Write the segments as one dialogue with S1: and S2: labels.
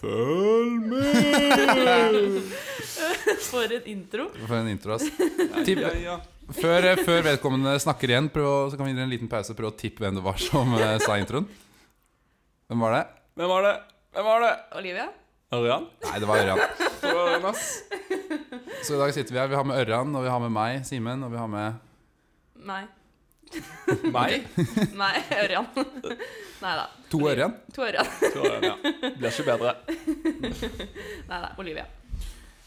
S1: Følg med!
S2: For en intro.
S3: For en intro, ass. Tipp, før, eh, før vedkommende snakker igjen, prøv, å- så kan vi gi en liten pause og prøve å tippe hvem det var som eh, sa introen. Hvem var det?
S1: Hvem var det? Hvem var det?
S2: Olivia?
S1: Ørjan?
S3: Nei, det var Ørjan.
S1: Det var Ørjan, ass.
S3: Så i dag sitter vi her. Vi har med Ørjan, og vi har med meg, Simen, og vi har med
S2: Nei.
S1: Meg?
S2: Nei, Ørjan. Nei da.
S3: to Ørjan.
S2: To Ørjan.
S1: Tror jeg, ja. Blir ikke bedre.
S2: Nei da, Olivia.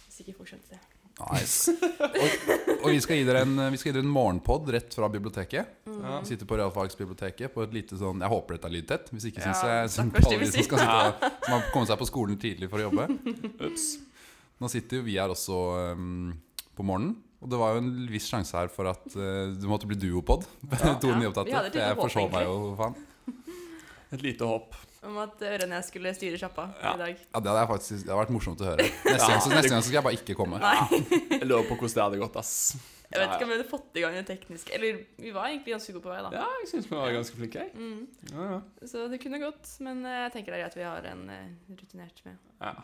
S2: Hvis ikke folk skjønte det.
S3: Nice. Og, og vi skal gi dere en, vi skal gi dere en morgenpod rett fra biblioteket.
S1: Ja.
S3: Vi sitter på Realfagsbiblioteket på et lite sånn Jeg håper dette er lydtett. Hvis ikke
S2: Ja,
S3: syns jeg synd
S2: stakkars
S3: på alle de som,
S2: de
S3: skal sitte, og- som har kommet seg på skolen tidlig for å jobbe.
S1: Ups.
S3: Nå sitter jo vi her også ehm, på morgenen, og det var jo en viss sjanse her for at eh, det måtte bli duopod. to
S2: Ja,
S3: nyopptatte.
S2: vi hadde
S3: for jeg
S2: et lite håp,
S3: forsov meg jo,
S2: egentlig.
S3: faen.
S1: Et lite hopp.
S2: Om at Ørjan og jeg skulle styre sjappa
S1: Ja.
S2: i dag.
S3: Ja, det hadde, jeg faktisk, det hadde vært morsomt å høre. Neste,
S1: Ja,
S3: gang, så, neste
S1: det-
S3: gang så skal jeg bare ikke komme.
S2: Nei.
S1: Jeg lurer på hvordan det hadde gått, ass.
S2: Jeg vet ikke om vi hadde fått i gang det tekniske. Eller vi var egentlig ganske gode på vei, da.
S1: Ja, jeg syns vi var ganske flinke, jeg.
S2: Mm.
S1: Ja, ja.
S2: Så det kunne gått, men eh, jeg tenker det er greit at vi har en eh, rutinert med.
S1: Ja.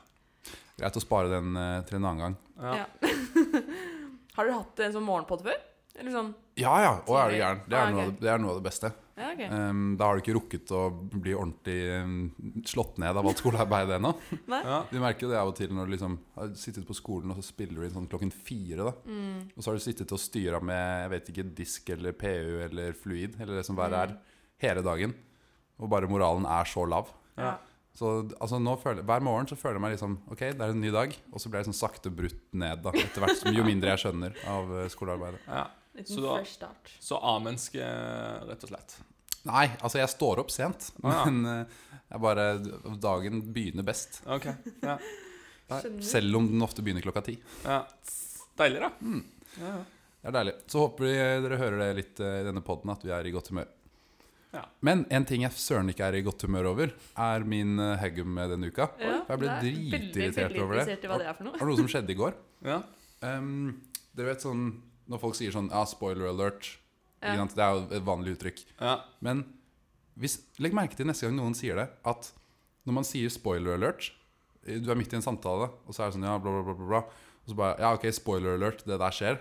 S3: Greit å spare den eh, til en annen gang.
S1: Ja.
S2: Ja. har dere hatt en sånn morgenpod før? Eller sånn?
S3: Ja ja, å er du gæren. Det
S2: Ah,
S3: er noe
S2: ok.
S3: av det, det, er noe av det beste.
S2: Ja, ok.
S3: Ehm, da har du ikke rukket å bli ordentlig ehm, slått ned av alt skolearbeidet ennå.
S1: Ja.
S3: Du merker jo det av og til når du liksom har sittet på skolen og så spiller du inn sånn klokken fire. da
S2: Mm.
S3: Og så har du sittet og styra med jeg vet ikke, disk eller PU eller fluid eller det som verre
S2: Mm.
S3: er, hele dagen. Og bare moralen er så lav.
S1: Ja.
S3: Så altså, nå føler, Hver morgen så føler jeg meg liksom Ok, det er en ny dag. Og så blir jeg liksom sakte brutt ned da etter hvert som jo mindre jeg skjønner av eh, skolearbeidet.
S1: ja.
S2: Liten
S1: Så da-
S2: fresh start.
S1: Så A-menneske, rett og slett.
S3: Nei, altså jeg står opp sent,
S1: Ah, ja.
S3: men eh, jeg bare Dagen begynner best.
S1: Ok, ja.
S2: Skjønner.
S3: Selv om den ofte begynner klokka ti.
S1: ja. Deilig, da. Mm. Ja, ja.
S3: Det er deilig. Så håper vi dere hører det litt eh, i denne podden at vi er i godt humør.
S1: Ja.
S3: Men en ting jeg søren ikke er i godt humør over, er min eh, Haggum denne uka.
S2: Ja,
S3: jeg ble
S2: det er veldig,
S3: dritirritert
S2: veldig
S3: over det.
S2: interessert i hva det er for
S3: Det
S2: noe.
S3: var noe som skjedde i går.
S1: ja.
S3: Um, dere vet sånn Når folk sier sånn ja, 'spoiler alert',
S2: Ja.
S3: ikke sant? det er jo et vanlig uttrykk.
S1: ja.
S3: Men hvis, legg merke til neste gang noen sier det, at når man sier 'spoiler alert' eh, Du er midt i en samtale, og så er det sånn ja, bla, bla, bla, bla, bla. Og så bare Ja, ok, spoiler alert, det der skjer.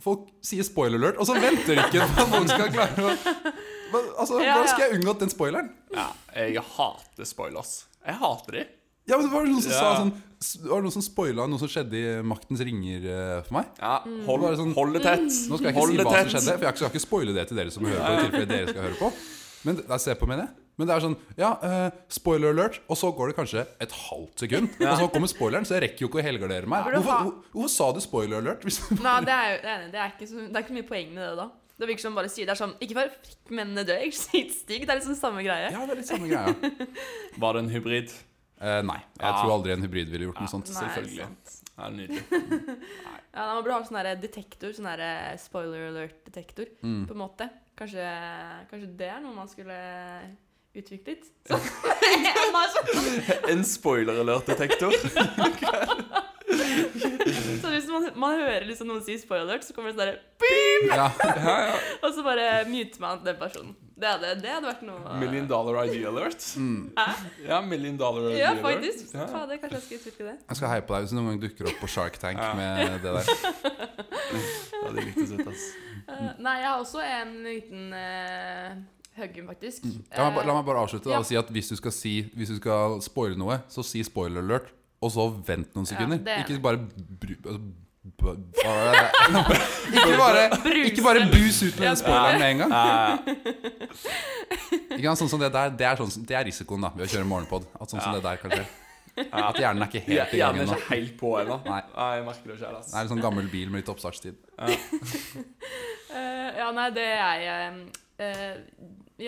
S3: Folk sier 'spoiler alert', og så venter de ikke på at folk skal klare å Hva- Altså,
S2: Ja,
S3: Hvordan skal
S2: ja.
S3: jeg unngått den spoileren?
S1: ja. Jeg hater spoilers. Jeg hater de.
S3: Ja, men Det var noen som
S1: Ja.
S3: sa sånn s- Det var noen som spoila noe som skjedde i Maktens ringer eh, for meg.
S1: Ja,
S2: Mm.
S1: hold,
S3: Bare sånn-
S1: hold det tett.
S3: Nå skal jeg ikke
S1: hold
S3: si
S1: det
S3: hva
S1: tett.
S3: som skjedde, for jeg skal ikke spoile det til dere som hører på. I tilfelle dere skal høre på Men det, se på meg det Men det er sånn, ja, eh, spoiler alert Og så går det kanskje et halvt sekund Og så kommer spoileren, så jeg rekker jo ikke å helgardere meg
S2: Burde du
S3: hvorfor,
S2: ha-
S3: hvor- hvorfor sa du spoiler alert? Hvis du
S2: Nei, det er, jo, det, er, det, er ikke så, det er ikke så mye poeng med det da. Det virker som bare sier det er sånn Ikke for fikk mennene dø, ikke sitt stig. Det er liksom samme greie.
S3: Ja, det er litt samme greia
S1: Var det en hybrid?
S3: Eh, Nei, jeg
S1: Ja.
S3: tror aldri en hybrid ville
S1: Ah.
S3: gjort noe sånt
S2: Nei,
S1: selvfølgelig.
S2: sant.
S1: Ja, nydelig.
S2: Ja, da, man burde ha sånn der detektor, sånn der eh, spoiler alert-detektor,
S3: Mm.
S2: på en måte. Kanskje, kanskje det er noe man skulle utviklet? Så,
S1: En spoiler alert-detektor.
S2: så hvis man, man hører liksom noen si spoiler alert, så kommer det sånn derre
S3: ja.
S2: Og så bare myter man den personen. Det hadde, det hadde vært noe
S1: Million dollar ID alert.
S3: mm.
S1: Ja, million dollar ID
S2: Ja,
S1: alert.
S2: faktisk.
S1: Ja.
S2: Fader, kanskje jeg skal utvikle det.
S3: Jeg skal heie på deg hvis du noen gang dukker opp på Shark Tank
S1: Ja.
S3: Med det der
S1: Ja, det likte jeg ass.
S2: Eh, nei, jeg har også en liten uh, høggum, faktisk.
S3: Mm. la meg, ba- la meg bare avslutte da,
S2: Ja.
S3: og si at hvis du skal, si, hvis du skal spoile noe Så si spoiler alert Og så vent noen
S2: Ja,
S3: sekunder
S2: det er
S3: Ikke bare bru, altså, b- bare- Ikke bare
S2: Brus.
S3: Ikke bare bus ut med
S2: Ja.
S3: den spoileren med en gang
S1: Ja,
S3: Ikke sant, sånn som det der Det er, sånn, som- det er risikoen da Ved å kjøre morgenpod At sånn som det der kan skje At hjernen er ikke
S1: ja.
S3: helt i gang
S1: Hjernen er
S3: ennå
S1: ikke helt på ennå.
S3: Nei.
S1: jeg merker det selv, ass.
S3: Det er en sånn gammel bil med litt oppstartstid
S2: Eh, ja, nei, det er jeg eh,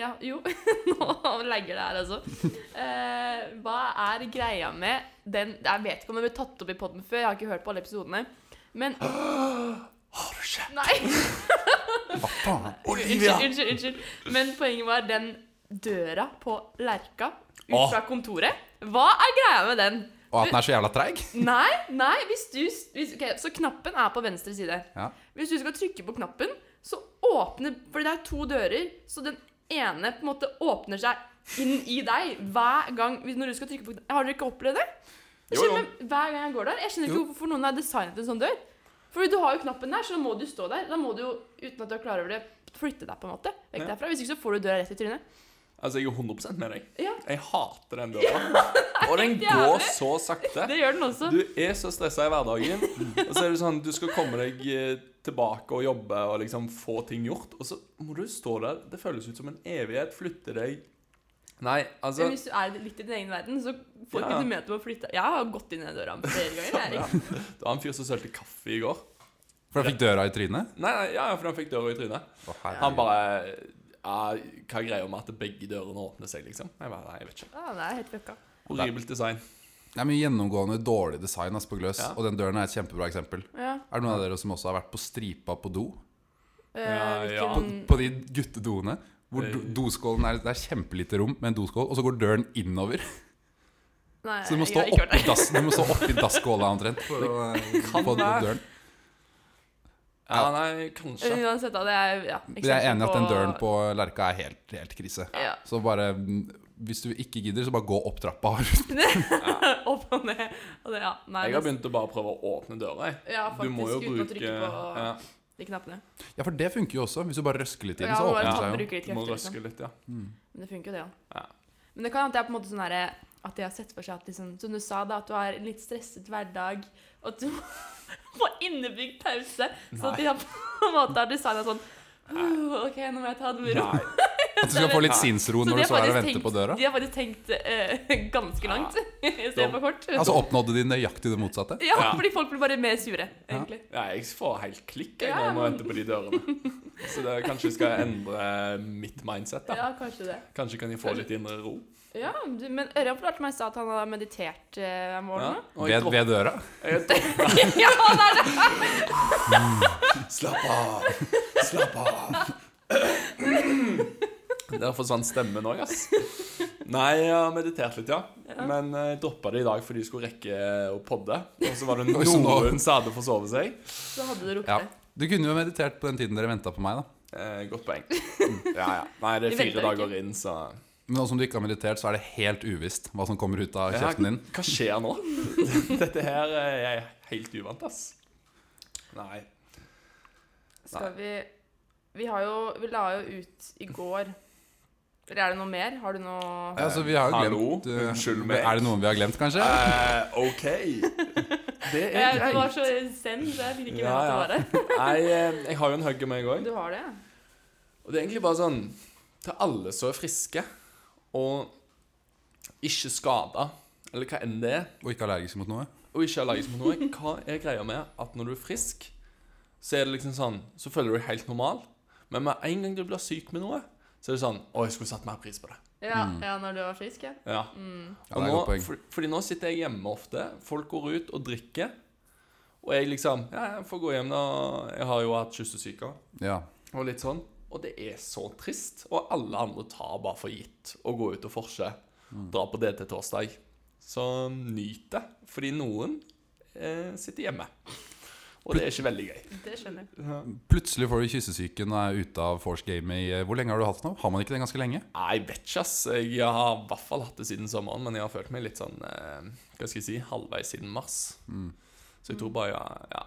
S2: Ja, jo. Nå legger det her, altså. Eh, hva er greia med den Jeg vet ikke om den ble tatt opp i poden før, jeg har ikke hørt på alle episodene. Men
S1: Har du ikke?
S2: Nei!
S3: Hva faen?
S1: Olivia!
S2: Unnskyld, unnskyld. unnskyld. Men poenget var den døra på Lerka ut
S1: Åh.
S2: fra kontoret. Hva er greia med den?
S3: Og at den er så jævla treig
S2: Nei, nei, hvis du hvis, ok, Så knappen er på venstre side.
S3: Ja.
S2: Hvis du skal trykke på knappen, så åpner For det er to dører, så den ene på en måte åpner seg inn i deg hver gang hvis- Når du skal trykke på Har dere ikke opplevd det? Jeg
S1: Jo, jo.
S2: skjønner meg Hver gang jeg går der Jeg skjønner ikke
S3: Jo.
S2: hvorfor noen har designet en sånn dør. Fordi du har jo knappen der, så da må du stå der. Da må du jo, uten at du er klar over det, flytte deg på en måte vekk
S1: Ja.
S2: derfra. Hvis ikke så får du døra rett i trynet.
S1: Altså, jeg er 100 med deg.
S2: Ja.
S1: Jeg hater den døra. og den
S2: jævlig.
S1: går så sakte.
S2: Det gjør den også.
S1: Du er så stressa i hverdagen. Og så er det sånn, du skal komme deg eh, tilbake og jobbe og liksom få ting gjort. Og så må du stå der. Det føles ut som en evighet. Flytte deg. Nei, altså
S2: Men hvis du er litt i din egen verden, så får
S1: Ja.
S2: ikke du med til å flytte Jeg har gått inn i den døra flere ganger.
S1: ja.
S2: Jeg.
S1: Det var en fyr som sølte kaffe i går.
S3: For jeg fikk døra i trynet?
S1: Nei, nei, ja, ja, for han fikk døra i trynet.
S3: Å, herregud.
S1: Han bare ja, Hva er greia med at begge dørene åpner seg, liksom? Jeg bare, nei, jeg vet ikke.
S2: Ja, det er helt fucka.
S1: Horribelt design.
S3: Det er mye gjennomgående dårlig design ass, på Gløs,
S1: Ja.
S3: og den døren er et kjempebra eksempel.
S2: Ja.
S3: Er det noen av dere som også har vært på stripa på do?
S1: Ja,
S2: Eh,
S1: ja.
S2: hvilken-
S3: På de guttedoene? Hvor do
S1: Eh.
S3: doskålen er, Det er kjempelite rom med en doskål, og så går døren innover.
S2: Nei,
S3: Så du må
S2: jeg
S3: stå
S2: har ikke vært
S3: oppi
S2: der.
S3: dass- du må stå oppi dasskåla omtrent for å eh,
S1: kan
S3: få den
S1: være.
S3: opp døren.
S1: Ja, nei, kanskje.
S2: Uansett, da. Det er ja,
S3: Men jeg er enig i at den døren på Lerka er helt, helt krise.
S2: Ja.
S3: Så bare mm, Hvis du ikke gidder, så bare gå opp trappa. Har
S2: Opp og ned. Og det, ja. Nei,
S1: Jeg har
S2: det-
S1: begynt å bare prøve å åpne døra. Jeg.
S2: ja, faktisk,
S1: Du må jo
S2: uten å
S1: bruke
S2: trykke på
S1: ja,
S2: de knappene.
S3: Ja, for det funker jo også. Hvis du bare røsker litt i den,
S2: Ja,
S3: så
S2: må
S3: åpner den
S2: bare
S1: ja.
S2: ta,
S3: seg jo.
S2: bruke litt
S1: Du må
S2: krefter. Liksom.
S1: røske litt, ja.
S2: Men det funker jo, det òg.
S1: Ja.
S2: Men det kan hende at jeg på en måte sånn herre At jeg har sett for seg at liksom, som du sa, da, at du har en litt stresset hverdag, og at du må få innebygd pause. Så at de har på en måte har designa sånn «Åh, OK, nå må jeg ta det med ro.
S1: Nei.
S3: At du skal få litt sinnsro
S2: Så de
S3: når du
S2: har
S3: står der og
S2: faktisk
S3: venter på
S2: tenkt-
S3: døra.
S2: De har faktisk tenkt eh, ganske langt
S1: Dom.
S2: istedenfor kort.
S3: Altså oppnådde de nøyaktig det motsatte?
S2: ja,
S1: Ja.
S2: fordi folk blir bare mer sure, egentlig.
S1: Ja, jeg får helt klikk jeg, når
S2: Ja,
S1: jeg
S2: men-
S1: venter på de dørene. Så det, kanskje jeg skal endre mitt mindset.
S2: Ja,
S1: da.
S2: kanskje det.
S1: Kanskje kan jeg få litt indre ro.
S2: Ja, du- Men Ørjan fortalte meg i stad at han har meditert eh, om
S1: Ja.
S2: morgenen.
S1: Og jeg
S3: Ved, ved døra?
S1: dropp- jeg dropp-
S2: Ja. det er det!
S1: Slapp av! Slapp av! Der forsvant stemmen òg, sånn ass. Nei, jeg har meditert litt, ja. Men eh, jeg droppa det i dag fordi jeg skulle rekke å podde. Og så var det
S3: Oi, så nå-
S1: noen som hadde forsovet seg.
S2: Så hadde du
S3: Ja.
S2: rukket det.
S3: Du kunne jo meditert på den tiden dere venta på meg, da.
S1: Eh, godt poeng. Ja, ja. Nei, det er
S2: Vi venter
S1: fire
S2: ikke.
S1: dager inn, så
S3: Men nå som du ikke har meditert, så er det helt uvisst hva som kommer ut av kjeften din.
S1: Hva skjer nå? Dette her eh, jeg er helt uvant, ass. Nei.
S2: Skal vi Vi har jo Vi la jo ut i går Eller er det noe mer? Har du noe
S3: Ja, så vi har jo
S1: Hallo?
S3: glemt eh,
S1: Unnskyld meg.
S3: Er det noen vi har glemt, kanskje?
S1: Eh, OK. Det er
S2: Jeg det var
S1: greit.
S2: så send, så jeg fikk ikke med
S1: Ja,
S2: meg at det var det.
S1: Nei, eh, jeg har jo en hugger med meg òg.
S2: Du har det, ja?
S1: Og det er egentlig bare sånn Til alle som er friske og ikke skada, eller hva enn det er,
S3: Og ikke allergisk mot noe?
S1: og ikke allergisk mot noe, hva er greia med at når du er frisk, så er det liksom sånn Så føler du deg helt normal, men med en gang du blir syk med noe, så er det sånn Å, jeg skulle satt mer pris på det.
S2: Ja,
S1: Mm.
S2: ja, når du var frisk, ja.
S1: Ja.
S3: Ja,
S1: Og
S3: det er et
S1: nå,
S3: godt poeng.
S1: for, fordi nå sitter jeg hjemme ofte. Folk går ut og drikker. Og jeg liksom Ja, jeg får gå hjem, da. Jeg har jo hatt kyssesyke
S3: Ja.
S1: og litt sånn. Og det er så trist. Og alle andre tar bare for gitt å gå ut og forse.
S3: Mm.
S1: Dra på det til torsdag. Så nyt det. Fordi noen eh, sitter hjemme. Og det er ikke veldig gøy.
S2: Det skjønner jeg.
S3: Plutselig får du kyssesyken og er ute av force game i eh, Hvor lenge har du hatt den nå? Har man ikke den ganske lenge?
S1: Nei, jeg vet ikke, ass. Jeg har i hvert fall hatt det siden sommeren, men jeg har følt meg litt sånn eh, Hva skal jeg si halvveis siden mars. Så jeg tror bare ja, ja.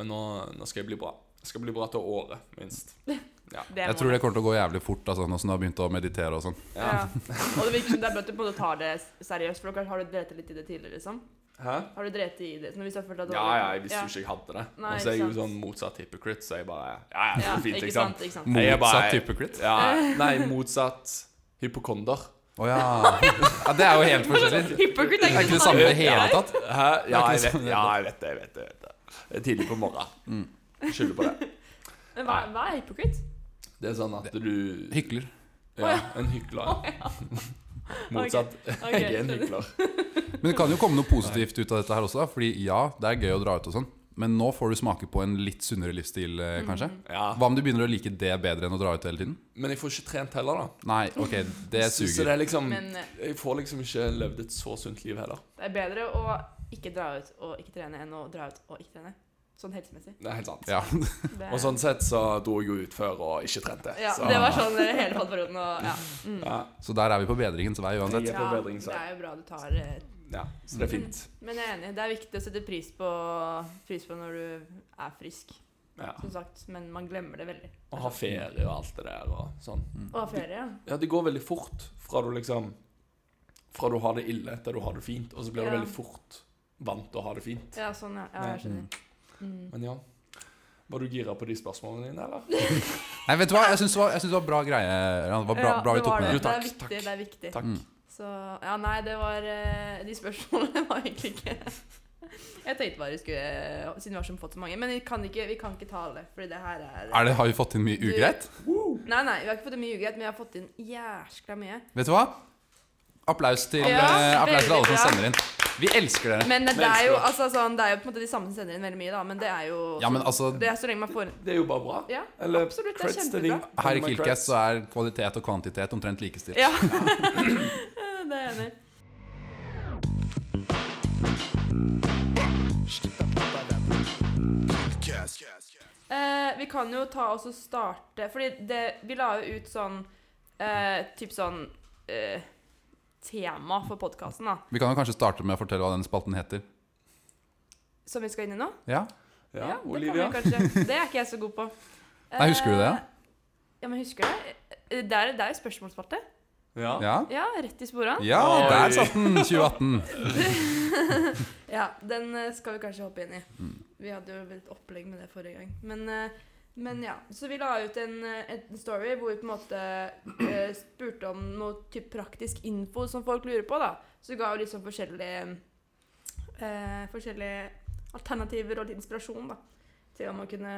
S1: Men nå, nå skal jeg bli bra. Jeg skal bli bra til året, minst.
S2: Det
S3: Jeg
S2: må
S3: tror det kommer til å gå jævlig fort altså, nå som du har begynt å meditere og sånn.
S2: Ja. Og det virker som det er bra at du på en måte tar det seriøst, for dere har du drept litt i det tidligere, liksom?
S1: Hæ?
S2: Har du drept i det? Sånn, hvis jeg følte at det
S1: Ja,
S2: var-
S1: ja, jeg visste jo ikke jeg hadde det.
S2: Nei,
S1: Og så er jeg jo
S2: ikke sant.
S1: sånn motsatt hypocrite, så jeg bare Ja, ja,
S2: Ja,
S1: så fint,
S2: ikke
S1: liksom.
S2: sant, ikke sant.
S1: Jeg er bare-
S3: Motsatt hypocrite.
S1: Ja, nei, motsatt hypokonder.
S3: Å ja. ja. Det er jo helt forskjellig.
S2: sånn Hypocrite
S3: Det er ikke det samme i det hele tatt.
S1: Hæ? Ja,
S3: Det er ikke
S1: jeg
S3: sånn
S1: vet,
S3: det er.
S1: ja, jeg vet det, jeg vet det. Jeg vet det. det er tidlig på morgenen. Skylder på det.
S2: Men hva, hva er hypocrite?
S1: Det er sånn at du
S3: Hykler.
S1: Ja, en hykler. Motsatt.
S2: Ok,
S1: Jeg er en
S2: skjønner.
S1: hykler.
S3: Men det kan jo komme noe positivt ut av dette her også, da. Fordi ja, det er gøy å dra ut og sånn, men nå får du smake på en litt sunnere livsstil, eh, kanskje.
S1: Ja.
S3: Hva om du begynner å like det bedre enn å dra ut hele tiden?
S1: Men jeg får ikke trent heller, da.
S3: Nei, ok, det
S1: Så- Så
S3: suger.
S1: det er liksom
S2: Men eh,
S1: Jeg får liksom ikke levd et så sunt liv heller.
S2: det er bedre å ikke dra ut og ikke trene enn å dra ut og ikke trene. Sånn helsemessig.
S1: Det er helt sant.
S3: Ja.
S2: Det,
S1: Og sånn sett så dro jeg jo ut før og ikke trente.
S2: ja,
S1: så
S2: det var sånn eh, hele podperioden. Og, ja. Mm.
S1: ja,
S3: Så der er vi på bedringens vei uansett.
S1: Jeg er på
S2: Ja,
S1: bedringshei.
S2: det er jo bra du tar eh,
S1: ja, så det er fint.
S2: Men jeg er enig. Det er viktig å sette pris på, pris på når du er frisk,
S1: Ja.
S2: som sagt. Men man glemmer det veldig.
S1: Og ha ferie og alt det der og sånn.
S2: Å ha ferie, ja.
S1: Ja, det går veldig fort fra du liksom Fra du har det ille til du har det fint, og så blir du
S2: Ja.
S1: veldig fort vant til å ha det fint.
S2: Ja, sånn, ja. ja jeg skjønner. Mm.
S1: Men ja. Var du gira på de spørsmålene dine,
S3: Mm.
S1: eller?
S3: Nei, vet du hva? Jeg syns det, var- jeg syns det var bra greie. Ran. Det var bra,
S2: Ja,
S3: bra vi
S2: det
S3: tok
S2: var
S3: med
S1: Jo,
S3: det.
S2: det. Det
S1: takk,
S2: er viktig.
S1: takk.
S2: Det er viktig.
S1: Takk.
S3: Mm.
S2: Så Ja, nei, det var eh, De spørsmålene var egentlig ikke Jeg tenkte bare vi skulle eh, Siden vi har så fått så mange. Men vi kan ikke, vi kan ikke ta alle, fordi det her er
S3: Er det, har vi fått inn mye
S2: Du-
S3: ugreit?
S2: Nei, nei, vi har ikke fått inn mye ugreit, men vi har fått inn jæskla mye.
S3: Vet du hva? Applaus til,
S2: Ja,
S3: eh, applaus til alle
S2: veldig
S3: som
S2: bra.
S3: sender inn. Vi elsker dere.
S2: Men det er jo
S1: elsker
S2: altså, sånn, Det er jo på en måte de samme som sender inn veldig mye, da, men det er jo
S3: Ja, men altså
S2: Det er så lenge man får
S1: Det er jo bare bra.
S2: Ja,
S1: Eller
S2: absolutt, det er
S1: creds til de-
S2: kjempebra.
S3: her i
S1: Eller
S3: Kilkas
S1: creds.
S3: så er kvalitet og kvantitet omtrent likestilt.
S2: Ja. det er jeg enig i. Eh, vi kan jo ta oss og starte Fordi det, vi la jo ut sånn eh, Typ sånn eh, Tema for podkasten, da.
S3: Vi kan jo kanskje starte med å fortelle hva den spalten heter.
S2: Som vi skal inn i nå.
S3: Ja,
S1: Ja,
S2: det
S1: Olivia.
S2: Kan vi kanskje. Det er ikke jeg så god på.
S3: Nei, husker du det?
S2: Eh, Ja, men husker jeg det? Det er, det er jo spørsmålsspalte.
S1: Ja.
S3: ja.
S2: Ja, rett i sporene.
S3: ja
S1: Oi.
S3: der satt den! 2018.
S2: Ja, den eh, skal vi kanskje hoppe inn i. Vi hadde jo et opplegg med det forrige gang. Men, eh, men ja. Så vi la ut en, eh, en story hvor vi på en måte eh, spurte om noe typ praktisk info som folk lurer på, da. Så vi ga jo litt sånn forskjellige eh, Forskjellige alternativer og litt inspirasjon, da. Til hva man kunne,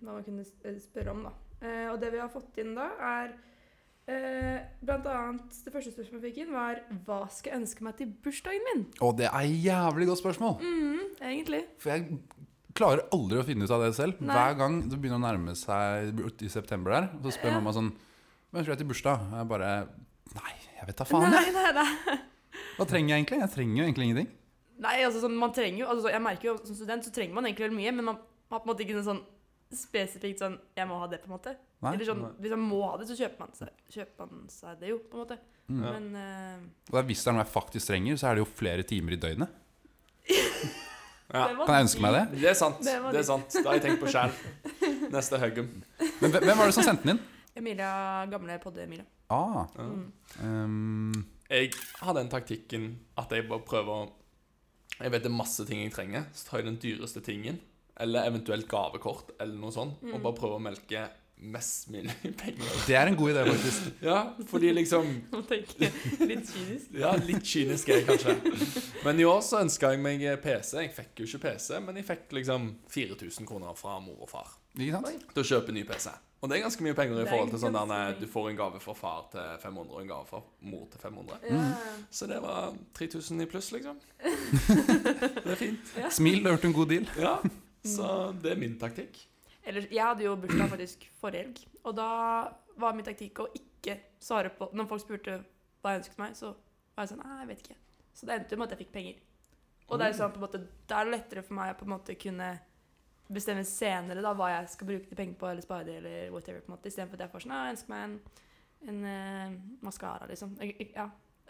S2: hva man kunne s- eh, spørre om, da. Eh, og det vi har fått inn da, er eh, Blant annet, det første spørsmålet jeg fikk inn, var Hva skal jeg ønske meg til bursdagen min?
S3: Og det er jævlig godt spørsmål.
S2: Mhm, egentlig.
S3: For jeg klarer aldri å finne ut av det selv.
S2: Nei.
S3: Hver gang det begynner å nærme seg i september der, så spør
S2: Ja.
S3: mamma sånn Hva ønsker du deg til bursdag? Og jeg bare Nei, jeg vet da faen.
S2: Nei,
S3: Jeg.
S2: nei, nei.
S3: Hva trenger jeg egentlig? Jeg trenger jo egentlig ingenting.
S2: nei altså, sånn, man trenger jo, altså, sånn, jeg merker jo Som student så trenger man egentlig veldig mye, men man har på en måte ikke noe sånn spesifikt sånn Jeg må ha det, på en måte.
S3: Nei,
S2: Eller sånn,
S1: nei.
S2: Hvis man må ha det, så kjøper man seg, kjøper man seg det jo, på en måte.
S3: Mm.
S1: Ja.
S2: Men eh,
S3: Og det er hvis det er noe jeg faktisk trenger, så er det jo flere timer i døgnet.
S1: Ja.
S2: det var
S3: Kan jeg ønske meg det?
S1: Det er sant.
S2: Det var
S1: Det er
S2: litt-
S1: sant. Det har jeg tenkt på sjøl. Neste høggum.
S3: Men hvem hvem var det som sendte den inn?
S2: Emilia, gamle podde-Emilia.
S3: Ah,
S1: Ja.
S2: Mm.
S3: ehm,
S1: Jeg har den taktikken at jeg bare prøver å Jeg vet det er masse ting jeg trenger, så tar jeg den dyreste tingen, eller eventuelt gavekort, eller noe sånt,
S2: Mm.
S1: og bare prøver å melke mest mulig penger.
S3: det er en god idé, faktisk.
S1: Ja, fordi liksom
S2: Nå tenker jeg litt kynisk.
S1: Ja, litt kynisk er jeg kanskje. Men i år så ønska jeg meg PC. Jeg fikk jo ikke PC, men jeg fikk liksom 4000 kroner fra mor og far
S3: Ikke sant?
S1: til å kjøpe ny PC. Og det er ganske mye penger i
S2: Det er
S1: forhold til sånn
S2: ganske
S1: der
S2: mye.
S1: du får en gave fra far til 500 og en gave fra mor til 500.
S3: Mm.
S2: Ja.
S1: Så det var 3000 i pluss, liksom. Det er fint.
S3: Smil, du har gjort en god deal.
S1: Ja, så det er min taktikk.
S2: Eller, jeg hadde jo bursdag faktisk forrige helg, og da var min taktikk å ikke svare på Når folk spurte hva jeg ønsket meg, så var jeg sånn Nei, jeg vet ikke. Så det endte jo med at jeg fikk penger. Og det er jo sånn på en måte Da er det lettere for meg å på en måte kunne bestemme senere da hva jeg skal bruke de pengene på, eller spare de, eller whatever, på en måte, istedenfor at jeg får sånn «Nei, Jeg ønsker meg en, en eh, maskara, liksom. Jeg, jeg, ja.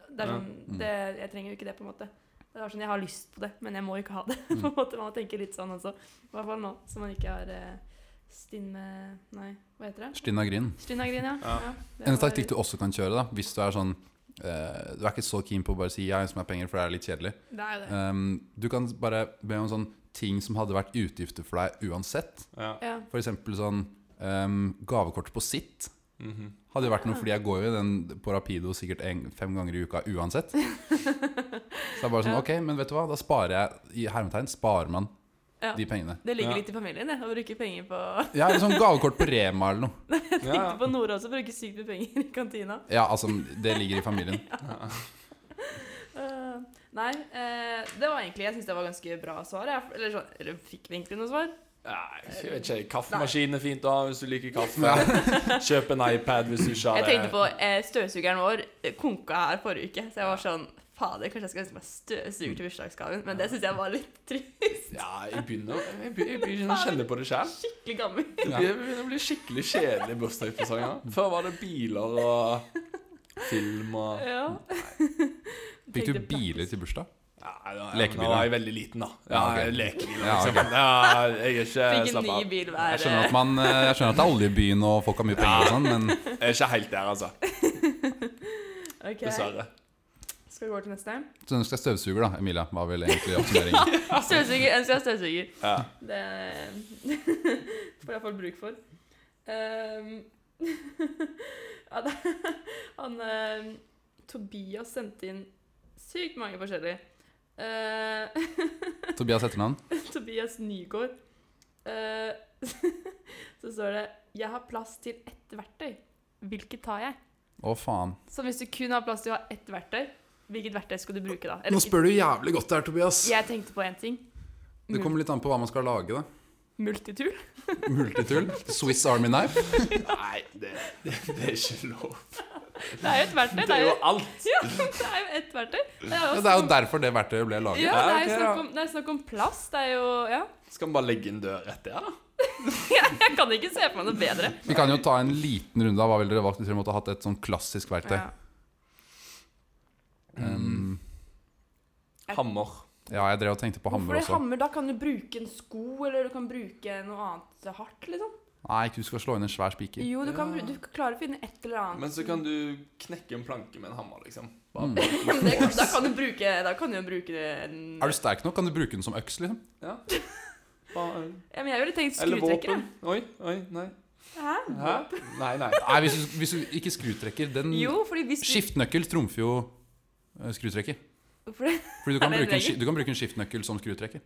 S2: Det er
S1: Ja.
S2: sånn det, Jeg trenger jo ikke det, på en måte. Det er sånn, Jeg har lyst på det, men jeg må ikke ha det. på
S1: Mm.
S3: Mm.
S2: en måte, Man må tenke litt sånn også. I hvert fall nå, så man ikke har eh, stinne Nei, hva heter det?
S3: Stinna Grin.
S2: Stinnagrin, ja.
S1: Ja.
S2: det
S3: En
S2: var-
S3: taktikk du også kan kjøre, da, hvis du er sånn eh, Du er ikke så keen på å bare si 'jeg ønsker meg penger', for det er litt kjedelig.
S2: Det er jo det.
S3: Ehm, du kan bare be om sånn ting som hadde vært utgifter for deg uansett.
S1: Ja.
S2: Ja.
S3: F.eks. sånn um, gavekort på sitt.
S1: Mhm.
S3: Hadde jo vært
S2: Ah.
S3: noe, fordi jeg går jo i den på Rapido sikkert en, fem ganger i uka uansett. Så det er bare sånn, ok, men vet du hva, da sparer jeg I hermetegn sparer man
S2: Ja.
S3: de pengene.
S2: Det ligger
S1: Ja.
S2: litt i familien, det. Å bruke penger på
S3: Ja, eller sånn gavekort på Rema eller noe.
S1: ja.
S2: Tenkte på Nora også, bruke sykt mye penger i kantina.
S3: Ja, altså, det ligger i familien.
S2: Eh, nei, eh, det var egentlig Jeg syns det var ganske bra svar. Jeg, eller, sånn, eller fikk vi egentlig noe svar?
S1: Nei, jeg vet ikke. Kaffemaskin er fint å ha hvis du liker kaffe. Kjøp en iPad hvis du ikke har
S2: Jeg
S1: det.
S2: tenkte på eh, støvsugeren vår eh, konka her forrige uke, så jeg var sånn Fader, kanskje jeg skal ønske meg støvsuger til bursdagsgaven, men det syns jeg var litt trist.
S1: Ja, jeg begynner, jeg begynner, jeg begynner å kjenne på det sjøl.
S2: Skikkelig gammel.
S1: Det begynner- begynner å bli skikkelig kjedelige bursdagspresanger. Før var det biler og film og
S2: Ja.
S3: Fikk du
S2: Tenkte
S3: biler til bursdag?
S1: Nei, da-
S3: Lekebiler.
S1: Da var jeg veldig liten, da. Ja,
S3: Ja, ok.
S1: Lekebiler,
S3: Ja,
S1: liksom. Ja, jeg er ikke
S2: Fikk en
S1: Eh, Slapp
S2: ny
S1: av.
S2: bil
S3: Jeg
S2: hver
S3: skjønner at, man, eh, jeg skjønner at det er oljebyen og folk har mye penger og sånn, men
S1: Jeg er ikke helt der, altså.
S2: eh, ok.
S1: Dessverre.
S2: Skal vi gå til neste?
S3: så ønsker jeg støvsuger, da, Emilia. Hva vil egentlig oppsummeringen?
S2: Støvsuger. Ønsker jeg støvsuger.
S1: Ja.
S2: Det eh, får jeg iallfall bruk for. Ehm, ja, det, han eh, Tobias sendte inn sykt mange forskjellige. Eh,
S3: Tobias etternavn?
S2: Tobias Nygaard. Eh, så står det 'Jeg har plass til ett verktøy. Hvilket tar jeg?'
S3: Å, faen.
S2: Så hvis du kun har plass til å ha ett verktøy, hvilket verktøy skal du bruke da?
S3: Nå spør du jævlig godt der, Tobias.
S2: jeg tenkte på én ting.
S3: Det kommer litt an på hva man skal lage, da.
S2: Multitool.
S3: Multitool? Swiss Army Knife?
S1: Nei, det, det, det er ikke lov.
S2: Det er jo et verktøy.
S1: Det er jo alt.
S2: Ja, det er jo ett verktøy. Det er
S3: Ja,
S2: jo
S3: det er jo derfor det verktøyet ble laget.
S2: Ja, det er jo
S1: ok,
S2: snakk
S1: da.
S2: om, det er snakk om plass. Det er jo Ja.
S1: Skal vi bare legge inn dør rett der, da?
S2: Jeg kan ikke se for meg noe bedre.
S3: Vi kan jo ta en liten runde av hva ville dere valgt hvis dere måtte ha hatt et sånn klassisk verktøy.
S2: Ja.
S3: Um,
S1: Hammer.
S3: ja, jeg drev og tenkte på hammer
S2: Hvorfor det
S3: også.
S2: hammer? Da kan du bruke en sko, eller du kan bruke noe annet hardt, liksom.
S3: Nei, ikke du skal slå inn en svær spiker.
S2: Jo, du, kan,
S1: Ja.
S2: bru- du klarer å finne et eller annet.
S1: Men så kan du knekke en planke med en hammer, liksom. Bare-
S3: Mm.
S2: Men det, da kan du bruke Da kan du jo bruke en
S3: Er du sterk nok, kan du bruke den som øks, liksom.
S1: Ja. Bare,
S2: ja, Men jeg ville tenkt
S1: eller
S2: skrutrekker.
S1: våpen. Oi, oi, nei.
S2: jeg. Hæ?
S1: Hæ? Nei, nei.
S3: Nei, hvis du, hvis du ikke skrutrekker, den
S2: Jo, fordi hvis du
S3: Skiftenøkkel trumfer jo eh, skrutrekker.
S2: for det,
S3: Fordi du kan,
S2: Er
S3: bruke
S2: det en
S3: en,
S2: regel?
S3: ski- du kan bruke en skiftenøkkel som skrutrekker.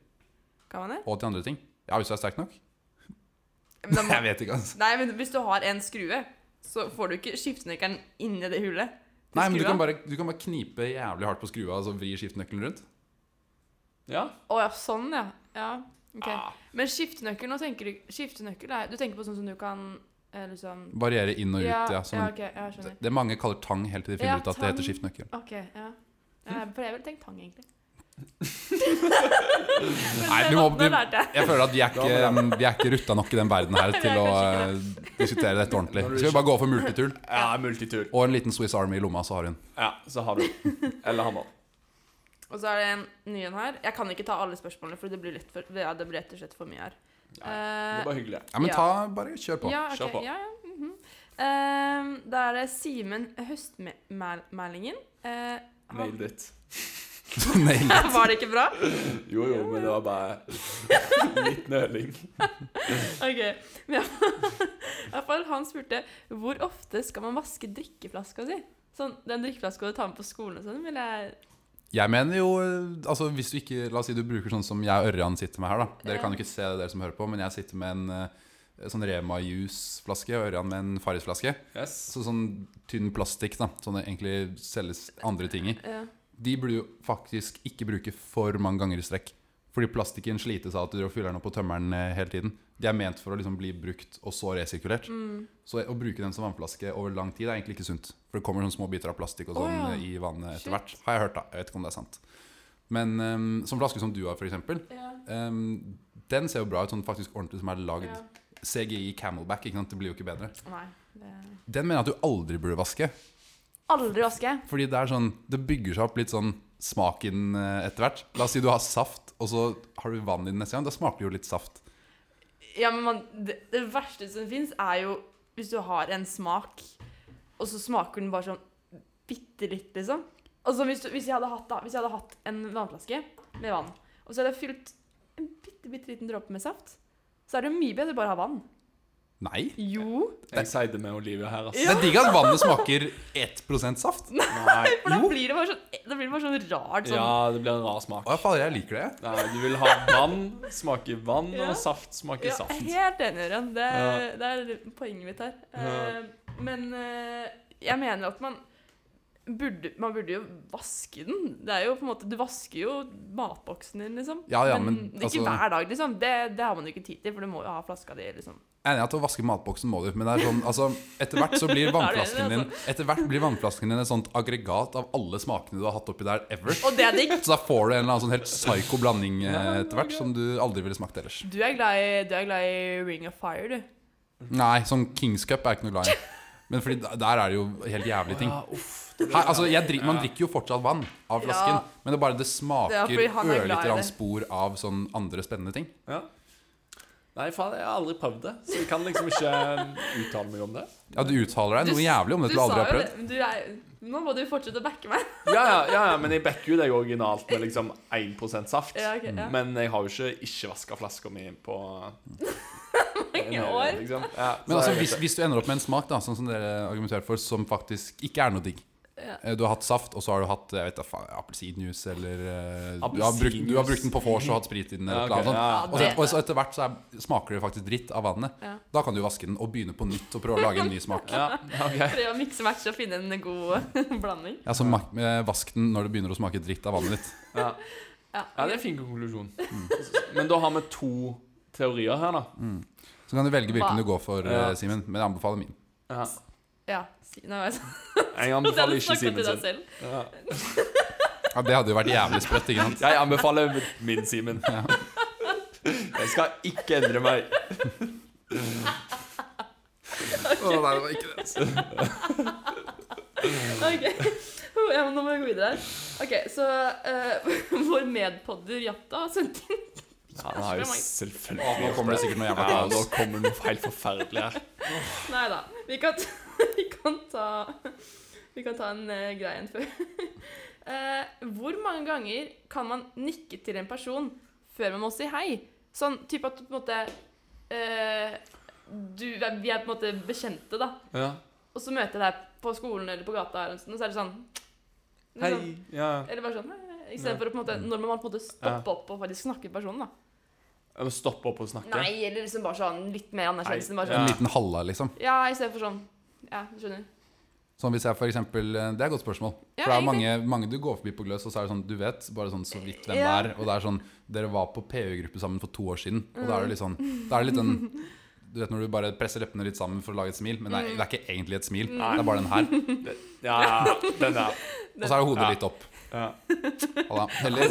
S2: Kan man det?
S3: Og til andre ting. Ja, hvis du er sterk nok.
S2: Men da, må-
S3: Jeg vet ikke, altså.
S2: nei, men hvis du har en skrue, så får du ikke skiftenøkkelen inni det hullet. til
S3: Nei, men du
S2: skrua.
S3: kan, bare, du kan bare knipe jævlig hardt på skrua og så vri skiftenøkkelen rundt.
S1: Ja.
S2: Å ja, sånn, ja. ja. ok.
S1: Ah,
S2: Men skiftenøkkel, nå tenker du Skiftenøkkel er Du tenker på sånn som du kan eh, liksom
S3: Variere inn og ut, ja. som
S2: ja,
S3: en-
S2: ok, ja, jeg skjønner.
S3: Det mange kaller tang helt til de finner
S2: Ja,
S3: ut at det
S2: tang.
S3: heter skiftenøkkel.
S2: Ok, ja.
S3: Mm.
S2: ja for jeg ville tenkt tang, egentlig.
S3: Nei,
S2: Men
S3: du må,
S2: nå-
S3: du,
S2: Nå lærte jeg.
S3: jeg føler at vi er
S1: Ja,
S3: ikke, vi er ikke rutta nok i den verden her
S2: Vi
S3: til
S2: er
S3: å eh, diskutere dette ordentlig.
S1: Når du
S3: Skal vi
S1: ikke-
S3: bare gå for multitool?
S1: ja, multitool.
S3: Og en liten Swiss Army i lomma, så har hun.
S1: Ja, så har du Eller hammer.
S2: Og så er det en ny en her. Jeg kan ikke ta alle spørsmålene, for det blir, litt for, ja, det blir rett og slett for mye her.
S1: Det
S2: Eh,
S1: var hyggelig.
S3: Ja, men
S2: Ja.
S3: ta, bare kjør på.
S2: ja,
S1: Kjør
S2: ok,
S1: på.
S2: Ja, ja. mhm. Eh, da er det Simen Høstmælingen. Eh, han-
S1: Nailed it.
S3: Nail.
S2: var det ikke bra?
S1: Jo, jo, men det var bare litt nøling.
S2: Ok. Men ja. I hvert fall, han spurte hvor ofte skal man vaske drikkeflaska si? Sånn, Den drikkeflaska du tar med på skolen og sånn, vil jeg
S3: Jeg mener jo eh, altså hvis du ikke, La oss si du bruker sånn som jeg og Ørjan sitter med her. da Dere
S2: Ja.
S3: kan jo ikke se det, dere som hører på, men jeg sitter med en eh, sånn Rema juiceflaske og Ørjan med en Farris-flaske.
S1: Yes.
S3: Så sånn tynn plastikk da som det egentlig selges andre ting i.
S2: ja.
S3: De burde jo faktisk ikke bruke for mange ganger i strekk. Fordi plastikken slites av at du driver og fyller den opp på tømmeren eh, hele tiden. De er ment for å liksom bli brukt og så resirkulert.
S2: mm.
S3: Så å bruke den som vannflaske over lang tid er egentlig ikke sunt. For det kommer sånne små biter av plastikk og
S2: Å,
S3: sånn
S2: ja.
S3: eh, i vannet
S2: Shit.
S3: etter hvert. Har jeg hørt, da. Jeg vet ikke om det er sant. Men eh, som flaske som du har, f.eks.,
S2: Ja.
S3: um, den ser jo bra ut sånn faktisk ordentlig som er lagd.
S2: Ja.
S3: CGI Camelback, ikke sant? det blir jo ikke bedre.
S2: Nei. Det...
S3: Den mener jeg at du aldri burde vaske.
S2: Aldri vaske.
S3: Fordi det er sånn Det bygger seg opp litt sånn smak i den eh, etter hvert. La oss si du har saft, og så har du vann i den neste gang. Da smaker det jo litt saft.
S2: Ja, men man, det, det verste som fins, er jo hvis du har en smak, og så smaker den bare sånn bitte litt, liksom. Altså, hvis, du, hvis, jeg hadde hatt, da, hvis jeg hadde hatt en vannflaske med vann, og så hadde jeg fylt en bitte, bitte liten dråpe med saft, så er det jo mye bedre å bare ha vann.
S3: Nei.
S2: Jo.
S1: Jeg sider med Olivia her, altså.
S3: Det er digg at vannet smaker 1 saft. Å,
S1: Nei.
S2: For da blir det bare sånn, da blir det bare sånn rart sånn.
S1: Ja, det blir en rar smak.
S3: ja, fader, jeg liker det. jeg.
S1: Nei, du vil ha vann smake vann,
S2: Ja.
S1: og saft smake
S2: Ja,
S1: saft.
S2: jeg er helt enig, Ørjan. Det, er-
S1: Ja.
S2: det er poenget mitt her.
S1: Ja.
S2: Eh, Men eh, jeg mener at man burde, man burde jo vaske den. Det er jo på en måte, Du vasker jo matboksen din, liksom.
S3: Ja, ja, men,
S2: ikke
S3: altså-
S2: hver dag, liksom. Det, det har man jo ikke tid til, for du må jo ha flaska di, liksom.
S3: Jeg er enig i at å vaske matboksen må du, men det er sånn, altså, etter hvert så blir vannflasken din
S2: altså.
S3: Etter hvert blir vannflasken din et sånt aggregat av alle smakene du har hatt oppi der ever.
S2: Og det er digg!
S3: Så da får du en eller annen sånn helt psyko blanding eh, etter hvert som du aldri ville smakt ellers.
S2: Du er glad i, du er glad i Ring of Fire, du.
S3: Nei, sånn Kings Cup er jeg ikke noe glad i. Men fordi da- der er det jo helt jævlige ting.
S1: Ja, uff.
S3: Her, altså, jeg drik, man drikker jo fortsatt vann av flasken,
S2: Ja.
S3: men det er bare det
S2: Det
S3: smaker
S2: er fordi han er glad i
S3: ørlite grann
S2: det.
S3: spor av sånn andre spennende ting.
S1: Ja. Nei, faen, jeg har aldri prøvd det, så jeg kan liksom ikke eh, uttale meg om det.
S3: Ja, Du uttaler deg
S2: Du
S3: noe
S2: s-
S3: jævlig om det du aldri har prøvd.
S2: men du er, nå må du fortsette å backe meg.
S1: Ja, ja, ja, ja men jeg backer jo deg originalt med liksom 1 saft.
S2: Ja, ok, ja.
S1: Men jeg har jo ikke ikke vaska flaska mi på en hel
S2: år.
S1: liksom. Ja, så
S3: Men altså,
S1: jeg-
S3: hvis, hvis du ender opp med en smak da, sånn som dere argumenterer for, som faktisk ikke er noe digg
S2: Ja.
S3: Eh, Du har hatt saft, og så har du hatt jeg vet da faen, appelsinjuice eller eh, du, har brukt, du har brukt den på vors og hatt sprit i den.
S1: Ja,
S3: Eller
S1: ok,
S3: noe
S1: ja.
S3: sånt. Og, så, og så etter hvert så er, smaker det faktisk dritt av vannet.
S2: Ja.
S3: Da kan du vaske den og begynne på nytt og prøve å lage en ny smak.
S1: ja, ok.
S2: Prøv å mikse match og finne en god blanding.
S3: Ja, så mak- eh, Vask den når det begynner å smake dritt av vannet ditt.
S1: ja.
S2: Ja.
S1: ja, det er en fin konklusjon.
S3: Mm.
S1: Men da har vi to teorier her, da.
S3: Så kan du velge
S2: Hva?
S3: hvilken du går for, eh,
S1: Ja.
S3: Simen. Men jeg anbefaler min.
S1: Ja.
S2: Ja, si, nå er jeg sånn.
S1: Jeg
S2: Det har
S1: anbefaler
S2: du
S1: ikke
S2: snakket
S1: Simen
S2: til deg
S1: sin.
S2: selv.
S1: Ja.
S3: Ja, det hadde jo vært jævlig sprøtt. ikke sant?
S1: Jeg anbefaler min Simen. Jeg skal ikke endre meg.
S3: Å, nei, det var ikke det.
S2: Ok, Oh, ja, men Nå må jeg gå videre her. Ok, Så eh, vår medpodder Jatta har sendt inn
S1: Han har jo
S3: Å,
S1: selvfølgelig
S3: Nå kommer det sikkert noe jævla
S1: Ja,
S3: kaos.
S1: nå kommer det noe helt forferdelig her.
S2: Nei da. Vi kan, vi kan ta Vi kan ta en eh, greie en før. Eh, hvor mange ganger kan man nikke til en person før man må si hei? Sånn type at du på en måte eh, du, Vi er på en måte bekjente, da.
S1: Ja.
S2: Og så møter jeg deg på skolen eller på gata, eller noe sånt, og så er det sånn
S1: Hei.
S2: liksom,
S1: Ja.
S2: Eller bare sånn Istedenfor å på en måte Når man på en måte stopper opp og faktisk snakker med personen, da.
S1: Jeg må stoppe opp og snakke.
S2: Nei, eller liksom bare sånn litt mer anerkjennelse. Bare
S1: Ja.
S3: En
S2: sånn
S3: liten halla, liksom.
S2: Ja, istedenfor sånn Ja, du skjønner.
S3: Sånn hvis jeg for eksempel, Det er et godt spørsmål.
S2: Ja,
S3: for det er mange,
S2: egentlig.
S3: mange du går forbi på Gløs, og så er det sånn Du vet bare sånn så vidt hvem
S2: Ja.
S3: det er. Og det er sånn Dere var på PU-gruppe sammen for to år siden. Og da er
S2: Mm.
S3: det litt sånn Da er det litt den Du vet når du bare presser leppene litt sammen for å lage et smil, men det
S2: Mm.
S3: er, det er ikke egentlig et smil. Det er bare den her.
S1: Ja, den der.
S3: Og så er det hodet
S1: Ja.
S3: litt opp.
S1: Ja.
S3: Halla. Eller,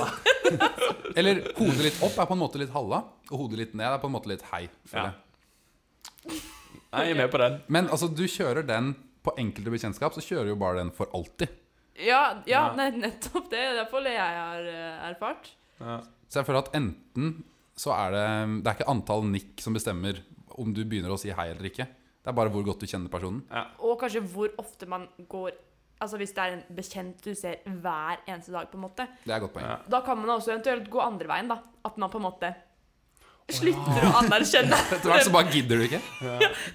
S3: eller hodet litt opp er på en måte litt halla, og hodet litt ned er på en måte litt hei.
S1: Ja.
S3: føler jeg.
S1: Jeg er med på den.
S3: Men altså, du kjører den på enkelte bekjentskap, så kjører jo bare den for alltid.
S2: Ja, ja
S1: Ja.
S2: nei, nettopp det. Det er derfor jeg har eh, erfart.
S1: Ja.
S3: Så jeg føler at enten så er det Det er ikke antall nikk som bestemmer om du begynner å si hei eller ikke. Det er bare hvor godt du kjenner personen.
S2: Og kanskje hvor ofte man går Altså hvis det er en bekjent du ser hver eneste dag, på en måte.
S3: Det er et godt poeng.
S1: Ja.
S2: Da kan man også eventuelt gå andre veien, da. At man på en måte slutter å anerkjenne
S3: Etter hvert så bare gidder du ikke.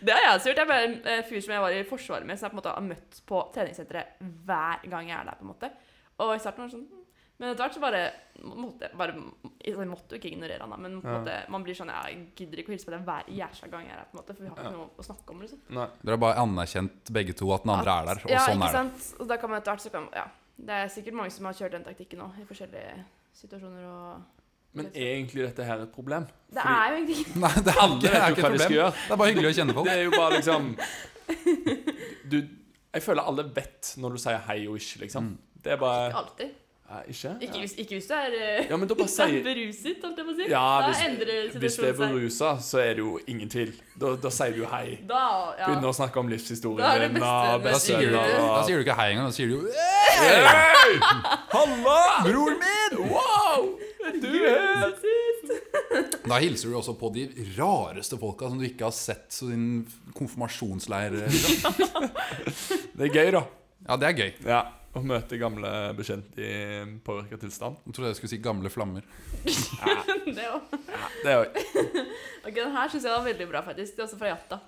S2: Det har jeg også gjort. Jeg ble en eh, fyr som jeg var i forsvaret med, som jeg på en måte har møtt på treningssenteret hver gang jeg er der. på en måte. Og i starten var det sånn mm. Men etter hvert så bare måtte jeg bare, altså, jeg måtte jo ikke ignorere han, da, men på en måte, man blir sånn Jeg gidder ikke å hilse på deg hver jævla gang jeg er her, på en måte, for vi har
S1: Ja.
S2: ikke noe å snakke om. liksom.
S1: Nei.
S3: Dere har bare anerkjent begge to at den andre er der, og
S2: ja,
S3: sånn
S2: ikke
S3: er det.
S2: sant? Og da kan man etter hvert så kan Ja. Det er sikkert mange som har kjørt den taktikken nå, i forskjellige situasjoner og
S1: Men er egentlig dette her et problem?
S2: Det
S1: Fordi-
S2: er jo egentlig ikke
S3: Nei, det er,
S1: Alle
S3: det er
S1: vet jo
S3: ikke
S1: hva
S3: et
S1: de skal
S3: problem.
S1: gjøre.
S3: Det er bare hyggelig å kjenne
S1: Det
S3: folk.
S1: er jo bare liksom Du Jeg føler alle vet når du sier hei og ikke, liksom. Det er bare
S2: alltid.
S1: ja, Ikke?
S2: Ikke,
S1: Ja.
S2: hvis, ikke hvis du er eh,
S1: ja, men da bare sier
S2: beruset, holdt jeg på å si.
S1: Ja,
S2: da
S1: hvis-
S2: endrer
S1: Hvis du er
S2: situasjonen seg.
S1: berusa, så er det jo ingen tvil. Da, da sier du hei.
S2: Da, ja.
S1: Begynner å snakke om
S2: Da er det
S1: livshistorien din
S2: beste-
S1: og
S3: Da sier, du,
S1: bestseller
S3: da
S1: og
S3: sier du ikke hei engang. Da sier du jo «Eh,
S1: Hei! Halla! Bror min! Wow! Er du her?
S3: Da hilser du også på de rareste folka som du ikke har sett i din konfirmasjonsleir. liksom.
S1: Det er gøy, da.
S3: Ja, det er gøy.
S1: Ja, Å møte gamle bekjente i påvirka tilstand.
S3: Jeg trodde jeg skulle si gamle flammer.
S2: Det også.
S1: Det er jo
S2: Ok, Den her syns jeg var veldig bra, faktisk. Det er også fra Jatta.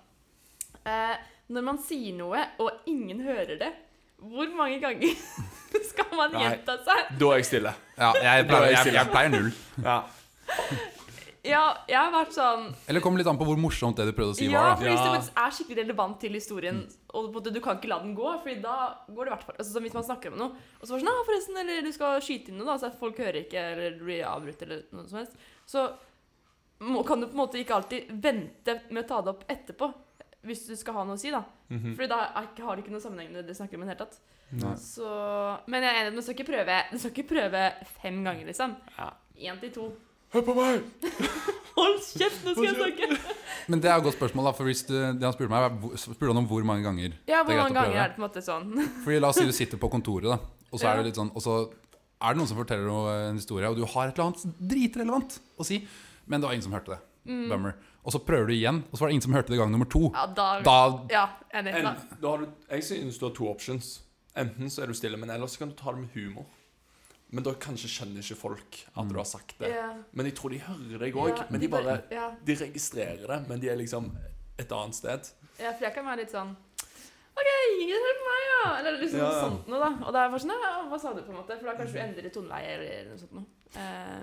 S2: Eh, når man sier noe, og ingen hører det, hvor mange ganger skal man
S1: Nei.
S2: gjenta seg?
S1: Da er jeg stille.
S3: Ja, jeg pleier, jeg, jeg pleier null.
S1: Ja.
S2: Ja, jeg har vært sånn
S3: Eller kommer litt an på hvor morsomt det du prøvde å si
S2: Ja,
S3: var.
S2: for
S3: da
S2: hvis det
S1: Ja.
S2: faktisk er skikkelig relevant til historien, og på en måte du kan ikke la den gå, Fordi da går det i hvert fall altså, som Hvis man snakker om noe, og så var det sånn «Ah, forresten, eller du skal skyte inn noe, da, så folk hører ikke, eller du blir avbrutt, eller noe som helst, så må, kan du på en måte ikke alltid vente med å ta det opp etterpå. Hvis du skal ha noe å si, da.
S1: Mhm.
S2: Fordi da er, ikke- har det ikke noe sammenheng med det du snakker om i det hele tatt.
S3: Nei.
S2: Så, men jeg er enig, du skal ikke prøve, du skal ikke prøve fem ganger, liksom.
S1: Ja.
S2: Én til to.
S1: Hør på meg!
S2: Hold kjeft, nå skal jeg snakke!
S3: Men det er et godt spørsmål, da. For hvis du, det han spurte meg, var hvor- spurte han om hvor mange ganger.
S2: Ja,
S3: Det
S2: hvor
S3: er greit
S2: mange
S3: å
S2: ganger
S3: prøve.
S2: er det på en måte sånn?
S3: Fordi La oss si du sitter på kontoret, da. Og så
S2: Ja.
S3: er det litt sånn Og så er det noen som forteller noe, en historie, og du har et eller annet dritrelevant å si, men det var ingen som hørte det. Bummer. Og så prøver du igjen, og så var det ingen som hørte det gang nummer to.
S2: Mm. Ja, da,
S3: Da
S2: Ja, enig.
S1: En,
S2: Da.
S1: da har du, jeg synes du har to options. Enten så er du stille, men ellers så kan du ta det med humor. Men da kanskje skjønner ikke folk at
S3: Mm.
S1: du har sagt det.
S2: Ja.
S1: Men jeg tror de hører deg òg.
S2: Ja,
S1: men de bare
S2: ja.
S1: De registrerer det, men de er liksom et annet sted.
S2: ja, for jeg kan være litt sånn OK, ingen hører på meg, ja! Eller liksom
S1: Ja,
S2: noe
S1: ja.
S2: sånt noe, da. Og da er jeg bare sånn Ja, hva sa du, på en måte? For da kanskje du endrer toneleie eller noe sånt noe. Eh,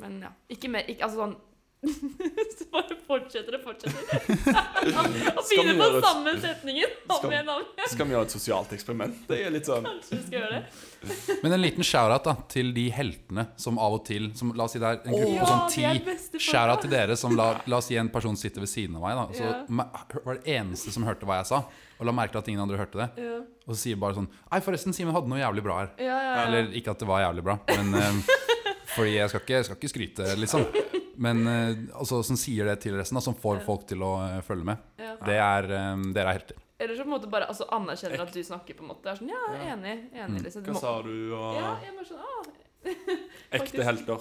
S2: men ja. Ikke mer ikke, Altså sånn Så bare fortsetter og fortsetter. og
S1: Skal vi
S2: begynner på
S1: gjøre et-
S2: samme setningen om
S1: Skal-
S2: igjen og om igjen.
S1: Skal vi gjøre et sosialt eksperiment? Det er litt sånn
S2: Kanskje vi skal gjøre det.
S3: Men en liten shout-out da til de heltene som av og til som, La oss si det er en
S1: Åh.
S3: gruppe på sånn
S2: de er
S3: ti.
S2: beste folka.
S3: Shout-out til dere som la, la oss si en person sitter ved siden av meg, da. og Så
S2: Ja.
S3: me- var det eneste som hørte hva jeg sa, og la merke til at ingen andre hørte det.
S2: Ja,
S3: Og så sier bare sånn Nei, forresten, Simen hadde noe jævlig bra her.
S2: ja, ja. ja.
S3: Eller ikke at det var jævlig bra, men eh, Fordi jeg skal, ikke, jeg skal ikke skryte, liksom. Men eh, altså, som sier det til resten, da, som får folk til å eh, følge med.
S2: ja.
S3: Det er eh, Dere er helter.
S2: Eller så på en måte bare altså, anerkjenner at du snakker, på en måte. Er sånn, ja,
S1: Ja. Mm.
S2: enig, enig, liksom. Du
S1: Hva
S2: må-
S1: sa du? Og
S2: Ja, jeg bare sånn, ah, faktisk.
S1: ekte helter.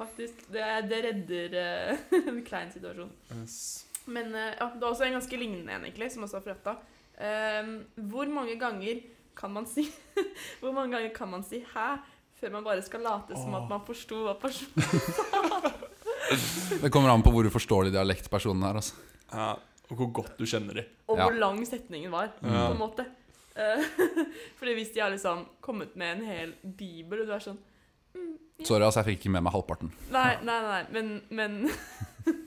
S2: faktisk. Det, det redder eh, en klein situasjon.
S1: Yes.
S2: Men eh, ja, det er også en ganske lignende en, egentlig, som også er fra Efta. Ehm, hvor mange ganger kan man si Hvor mange ganger kan man si 'hæ' før man bare skal late som at
S1: Åh.
S2: man forsto hva personen
S3: Det kommer an på hvor uforståelig dialektpersonen er. Altså.
S1: Ja, og hvor godt du kjenner dem.
S2: Og
S3: Ja.
S2: hvor lang setningen var,
S1: Ja.
S2: på en måte. Eh, Fordi hvis de har liksom kommet med en hel bibel, og du er sånn mm, ja.
S3: Sorry, altså, jeg fikk ikke med meg halvparten.
S2: Nei, nei, nei, men, men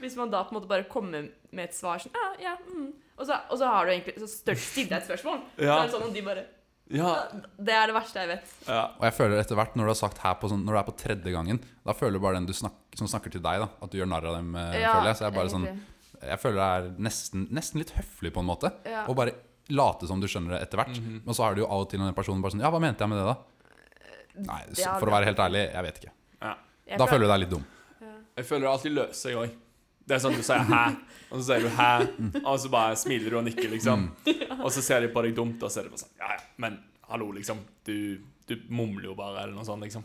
S2: Hvis man da på en måte bare kommer med et svar sånn ja, ja, mm. og, så, og så har du egentlig Så stør- stiller jeg et spørsmål. Så er det sånn om de bare «Ah,
S1: Ja.
S2: Det er det verste jeg vet.
S1: ja.
S3: Og jeg føler etter hvert, når du har sagt her på sånn, Når du er på tredje gangen, da føler du bare den du snak, som snakker til deg, da, at du gjør narr av dem. eh, føler jeg. Så jeg, er bare sånn,
S2: egentlig.
S3: jeg føler det er nesten, nesten litt høflig, på en måte.
S2: ja.
S3: Og bare late som du skjønner det etter hvert. Men så er det jo av og til den personen bare sånn Ja, hva mente jeg med det, da? Nei, så,
S2: Ja,
S3: for å
S2: det-
S3: være helt ærlig, jeg vet ikke.
S2: Jeg
S3: Da
S2: pleier-
S3: føler du deg litt dum.
S2: ja.
S1: Jeg føler det alltid løser seg òg. Det er sånn du sier 'hæ', og så sier du 'hæ', og så bare smiler du og nikker, liksom. Og så ser de på deg dumt, og så er det bare sånn 'ja ja, men hallo, liksom'. Du, du mumler jo bare, eller noe sånt, liksom.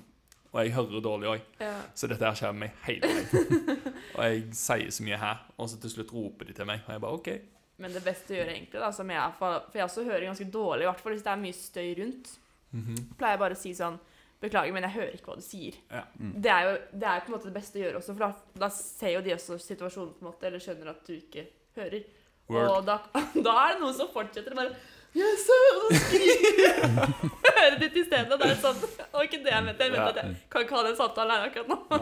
S1: Og jeg hører dårlig òg,
S2: Ja.
S1: så dette her skjer med meg hele tiden. Og jeg sier så mye 'hæ', og så til slutt roper de til meg, og jeg bare 'OK'.
S2: Men det beste å gjøre, egentlig, da, som jeg er for, for jeg også hører ganske dårlig, i hvert fall hvis det er mye støy rundt,
S1: Mhm.
S2: pleier jeg bare å si sånn Beklager, men jeg hører ikke hva du sier.
S1: Ja. Mm.
S2: Det er jo det er jo på en måte det beste å gjøre også, for da, da ser jo de også situasjonen, på en måte, eller skjønner at du ikke hører.
S1: Word.
S2: Og da, da er det noen som fortsetter å bare Yes, sir!» og så skriker Hører ditt isteden, og da er det sånn Det var ikke det jeg mente. Jeg mente at jeg kan ikke ha den samtalen her akkurat nå.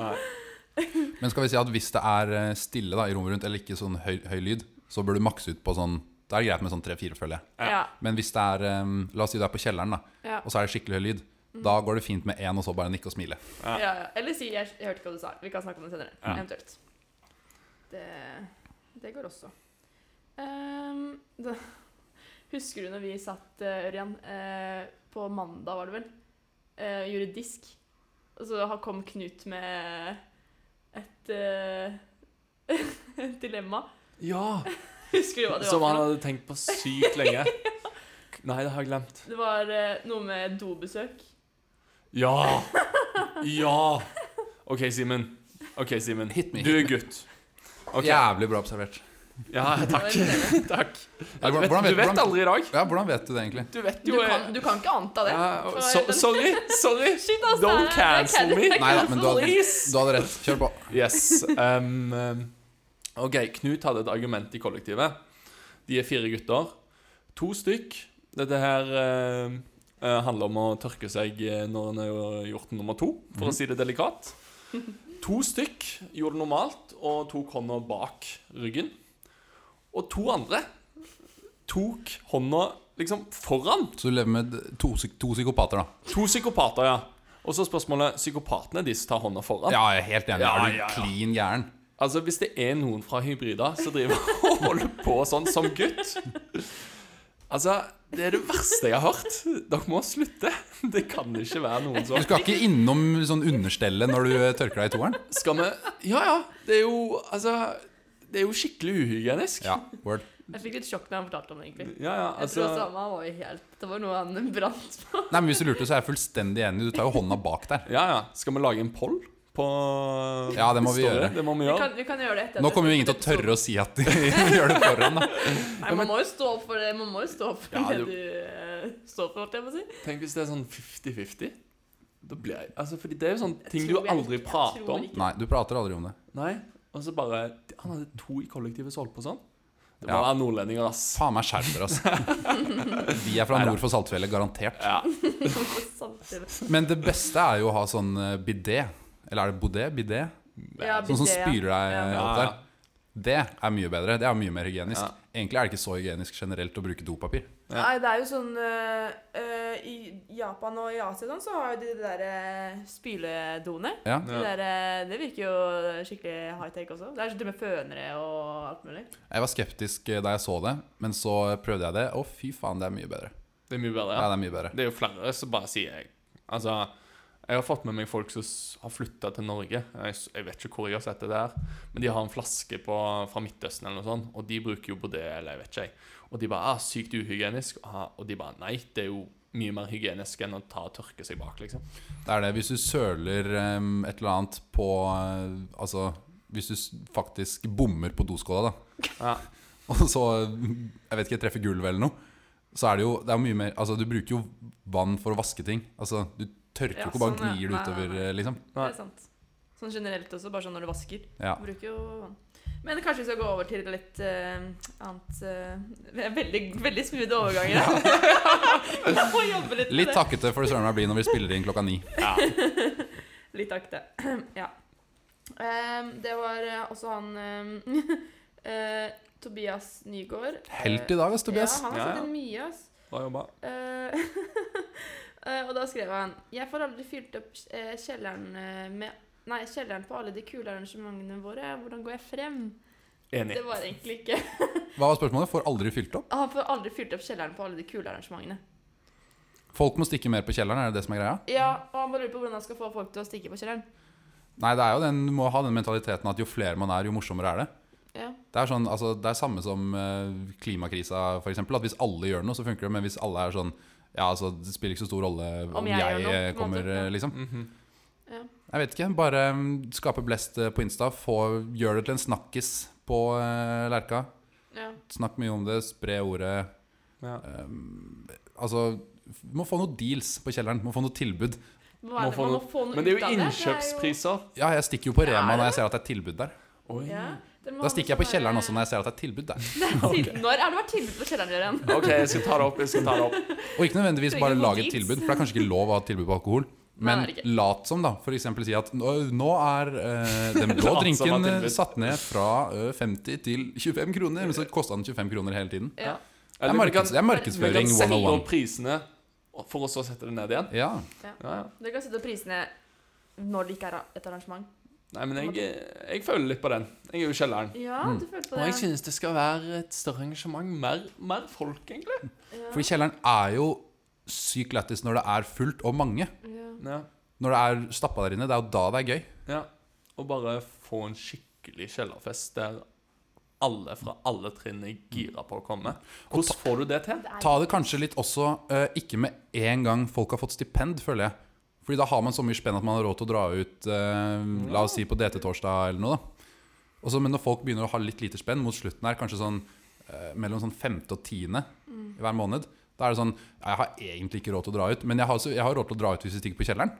S1: Nei.
S3: Men skal vi si at hvis det er eh, stille da, i rommet rundt, eller ikke sånn høy, høy lyd, så bør du makse ut på sånn Det er greit med sånn tre-fire, føler jeg.
S1: Ja.
S2: Ja.
S3: Men hvis det er eh, La oss si du er på kjelleren, da,
S2: Ja.
S3: og så er det skikkelig høy lyd. Da går det fint med én, og så bare nikke og smile.
S2: Ja, ja. Eller si jeg, 'jeg hørte ikke hva du sa'. Vi kan snakke om det senere.
S1: Ja.
S2: Eventuelt. Det, det går også. Ehm, da, husker du når vi satt, eh, Ørjan, eh, på mandag, var det vel, eh, gjorde disk? Og så har- kom Knut med et eh, et dilemma.
S1: ja.
S2: Husker du hva det var?
S1: Som
S2: for
S1: han
S2: noe?
S1: hadde tenkt på sykt lenge. Nei, det har jeg glemt.
S2: Det var eh, noe med dobesøk.
S1: Ja! Ja! OK, Simen. Ok, Simen.
S3: Hit me,
S1: Du
S3: hit
S1: er gutt. Ok.
S3: Jævlig bra observert.
S1: Ja, takk.
S2: Det var en dilemma.
S1: takk.
S3: Ja,
S1: Du
S3: hvordan-
S1: vet,
S3: hvordan vet-
S1: du vet
S3: hvordan-
S1: aldri i dag.
S3: Ja, hvordan vet du det, egentlig?
S1: Du vet
S2: Du
S1: jo
S2: kan, du kan ikke anta det.
S1: Ja, og- so, Sorry. Sorry.
S2: Shit, altså. ass, det er-
S1: Don't
S2: det er
S1: cancel
S2: kødd.
S1: me.
S2: Det er
S3: Nei da,
S2: kødd.
S3: men du hadde-
S1: Please.
S3: Du hadde rett. Kjør på.
S1: Yes. Um, um, OK, Knut hadde et argument i kollektivet. De er fire gutter. To stykk. Dette her um, eh, handler om å tørke seg eh, når en har gjort nummer to, for å si det delikat. To stykk gjorde det normalt, og tok hånda bak ryggen. Og to andre tok hånda liksom foran.
S3: Så du lever med to, psyk- to psykopater, da.
S1: To psykopater, ja. Og så spørsmålet Psykopatene er de som tar hånda foran.
S3: Ja, jeg er helt enig.
S1: Ja,
S3: er du
S1: ja, ja.
S3: klin gæren?
S1: Altså, hvis det er noen fra Hybrida som driver og holder på sånn som gutt Altså, det er det verste jeg har hørt. Dere må slutte. Det kan ikke være noen som
S3: Du skal ikke innom sånn understellet når du eh, tørker deg i toeren?
S1: Skal vi Ja, ja. Det er jo Altså, det er jo skikkelig uhygienisk.
S3: Ja, word.
S2: Jeg fikk litt sjokk da han fortalte om det, egentlig.
S1: ja, altså- ja
S2: Jeg
S3: altså-
S2: tror også han var jo helt Det var noe han brant på.
S3: Nei, men Hvis du lurte, så er jeg fullstendig enig. Du tar jo hånda bak der.
S1: Ja, ja. Skal vi lage en poll på
S3: Ja, det må vi
S1: Story?
S3: gjøre.
S1: Det må vi
S2: Vi
S1: gjøre.
S2: kan, vi kan gjøre det etter.
S3: Nå kommer jo ingen til å tørre å si at de gjør det foran, da.
S2: Nei, man må jo stå opp for det Man må jo stå opp for
S1: Ja,
S2: det
S1: du-
S2: du eh, står for, holdt jeg på å si.
S1: Tenk hvis det er sånn 50-50. Da blir jeg Altså, fordi det er jo sånne ting du
S2: tror jeg
S1: aldri
S2: ikke. Jeg
S1: prater
S2: tror
S1: om.
S2: ikke.
S3: Nei, du prater aldri om det.
S1: Nei. Og så bare Han hadde to i kollektivet som holdt på sånn. Det må
S3: Ja.
S1: være nordlendinger, ass.
S3: Faen meg skjerp dere, altså. De er fra nord for Saltfjellet, garantert.
S1: Ja.
S2: Samtidig.
S3: Men det beste er jo å ha sånn eh, bidé. Eller er det bodé? Bidé?
S2: Ja,
S3: Sånn som
S2: bidé, ja.
S3: spyler deg
S2: Ja.
S3: opp der. Det er mye bedre. Det er mye mer
S1: Ja.
S3: hygienisk. Egentlig er det ikke så hygienisk generelt å bruke dopapir.
S1: Ja.
S2: Nei, det er jo sånn eh, eh, I Japan og i Asia sånn, så har jo de de der eh, spyledoene.
S3: Ja.
S2: De der, eh, det virker jo skikkelig high-tech også. Det er sånn til og med fønere og alt mulig.
S3: Jeg var skeptisk eh, da jeg så det, men så prøvde jeg det. Å, fy faen, det er mye bedre.
S1: Det er mye bedre.
S3: Ja,
S1: Ja.
S3: det er mye bedre.
S1: Det er jo flere som bare sier jeg. Altså, jeg har fått med meg folk som s- har flytta til Norge. Jeg, s- jeg vet ikke hvor jeg har sett det der. Men de har en flaske på, fra Midtøsten eller noe sånt, og de bruker jo på det, eller jeg vet ikke. jeg. Og de bare ah, 'Sykt uhygienisk'. Ah, og de bare 'Nei, det er jo mye mer hygienisk enn å ta og tørke seg bak', liksom.
S3: Det er det. Hvis du søler em, et eller annet på eh, Altså, hvis du s- faktisk bommer på doskåla, da,
S1: Ja.
S3: og så Jeg vet ikke, treffer gulvet eller noe, så er det jo det er mye mer Altså, du bruker jo vann for å vaske ting. Altså, du tørker jo
S2: Ja,
S3: ikke bare
S2: sånn, ja.
S3: gnir det
S2: Nei, nei,
S3: utover,
S2: nei.
S3: eh, liksom.
S1: Nei.
S2: Det er sant. Sånn generelt også, bare sånn når du vasker.
S3: Ja.
S2: Bruker jo vann. Men kanskje vi skal gå over til litt eh, annet eh, det er Veldig, veldig smooth overganger. jeg må jobbe litt med
S3: Litt
S2: det.
S3: takkete får det søren meg bli når vi spiller inn klokka ni.
S1: Ja.
S2: Litt akte. ja. Ehm, det var eh, også han ehm, eh, Tobias Nygaard. Eh,
S3: Helt i dag, ass, Tobias.
S2: Ja, han har
S1: Ja, ja.
S2: fått inn mye, ass.
S1: Bra jobba.
S2: Eh, eh, og da skrev han Jeg får aldri fylt opp eh, kjelleren eh, med Nei, kjelleren på alle de kule arrangementene våre. Hvordan går jeg frem?
S1: Enig.
S2: Det var egentlig ikke
S3: Hva var spørsmålet? Får aldri fylt opp?
S2: Han får aldri fylt opp kjelleren på alle de kule arrangementene.
S3: Folk må stikke mer på kjelleren, er det det som er greia?
S2: Ja, og han bare lurer på hvordan han skal få folk til å stikke på kjelleren.
S3: Nei, det er jo den, du må ha den mentaliteten at jo flere man er, jo morsommere er det.
S2: Ja.
S3: Det er, sånn, altså, det er samme som eh, klimakrisa, for eksempel, at Hvis alle gjør noe, så funker det. Men hvis alle er sånn Ja, altså, det spiller ikke så stor rolle om,
S2: Om jeg
S3: jeg,
S2: gjør noe,
S3: eh,
S2: på en
S3: kommer,
S2: måte, ja.
S3: eh, liksom.
S1: Mhm.
S3: Jeg vet ikke. Bare mm, skape blest eh, på Insta. Få, gjør det til en snakkis på eh, Lerka.
S2: ja.
S3: Snakk mye om det, spre ordet. eh,
S1: ja.
S3: Altså, f- vi må få noen deals på kjelleren. Vi Må få noe tilbud.
S2: Må være-
S1: få
S2: man
S1: noe-
S2: må få noe
S1: Men det er
S2: ut av
S1: jo innkjøpspriser.
S3: Ja, jeg stikker jo på
S2: Ja,
S3: Rema
S2: det
S3: når jeg ser at det er tilbud der.
S1: Oi.
S2: Ja, det må
S3: Da
S2: han
S3: stikker jeg på kjelleren også når jeg ser at det er tilbud der.
S2: Siden når har du vært tilbud på kjelleren, Jørgen?
S1: OK, jeg skal ta det opp. Jeg skal ta det opp.
S3: Og ikke nødvendigvis
S2: Trenger
S3: bare
S2: noen
S3: lage et
S2: deals.
S3: tilbud, for det er kanskje ikke lov å ha et tilbud på alkohol. Men
S2: det er det ikke.
S3: lat som, da. F.eks. si at nå, nå er eh, den blå
S1: Lat som er
S3: drinken eh,
S1: tilbud.
S3: satt ned fra eh, 50 til 25 kroner, men så kosta den 25 kroner hele tiden.
S2: Ja.
S3: Det er,
S1: Eller vi kan,
S3: markeds,
S1: vi
S3: det er
S1: kan
S3: markedsføring
S1: sette opp
S3: 101.
S1: prisene for å så sette det ned igjen.
S3: Ja.
S1: Ja, ja.
S2: Dere kan sette opp prisene når det ikke er et arrangement.
S1: Nei, men jeg, jeg føler litt på den. Jeg er jo i kjelleren.
S2: Ja,
S3: Mm.
S2: du følte på
S1: Og
S2: det.
S1: jeg synes det skal være et større engasjement. Mer, mer folk, egentlig.
S2: Ja.
S3: Fordi kjelleren er jo sykt lættis når det er fullt og mange.
S2: Ja.
S1: Ja,
S3: Når det er stappa der inne. Det er jo da det er gøy.
S1: ja. Og bare få en skikkelig kjellerfest der alle fra alle trinn er gira på å komme. Hvordan får du det til?
S2: Det er-
S3: Ta det kanskje litt også eh, ikke med en gang folk har fått stipend, føler jeg. Fordi da har man så mye spenn at man har råd til å dra ut eh, la oss si på DT-torsdag eller noe. da. Og så- men når folk begynner å ha litt lite spenn mot slutten her, kanskje sånn eh, mellom sånn femte og tiende
S1: Mm.
S3: hver måned, da er det sånn ja, Jeg har egentlig ikke råd til å dra ut, men jeg har, så, jeg har råd til å dra ut hvis vi stikker på kjelleren.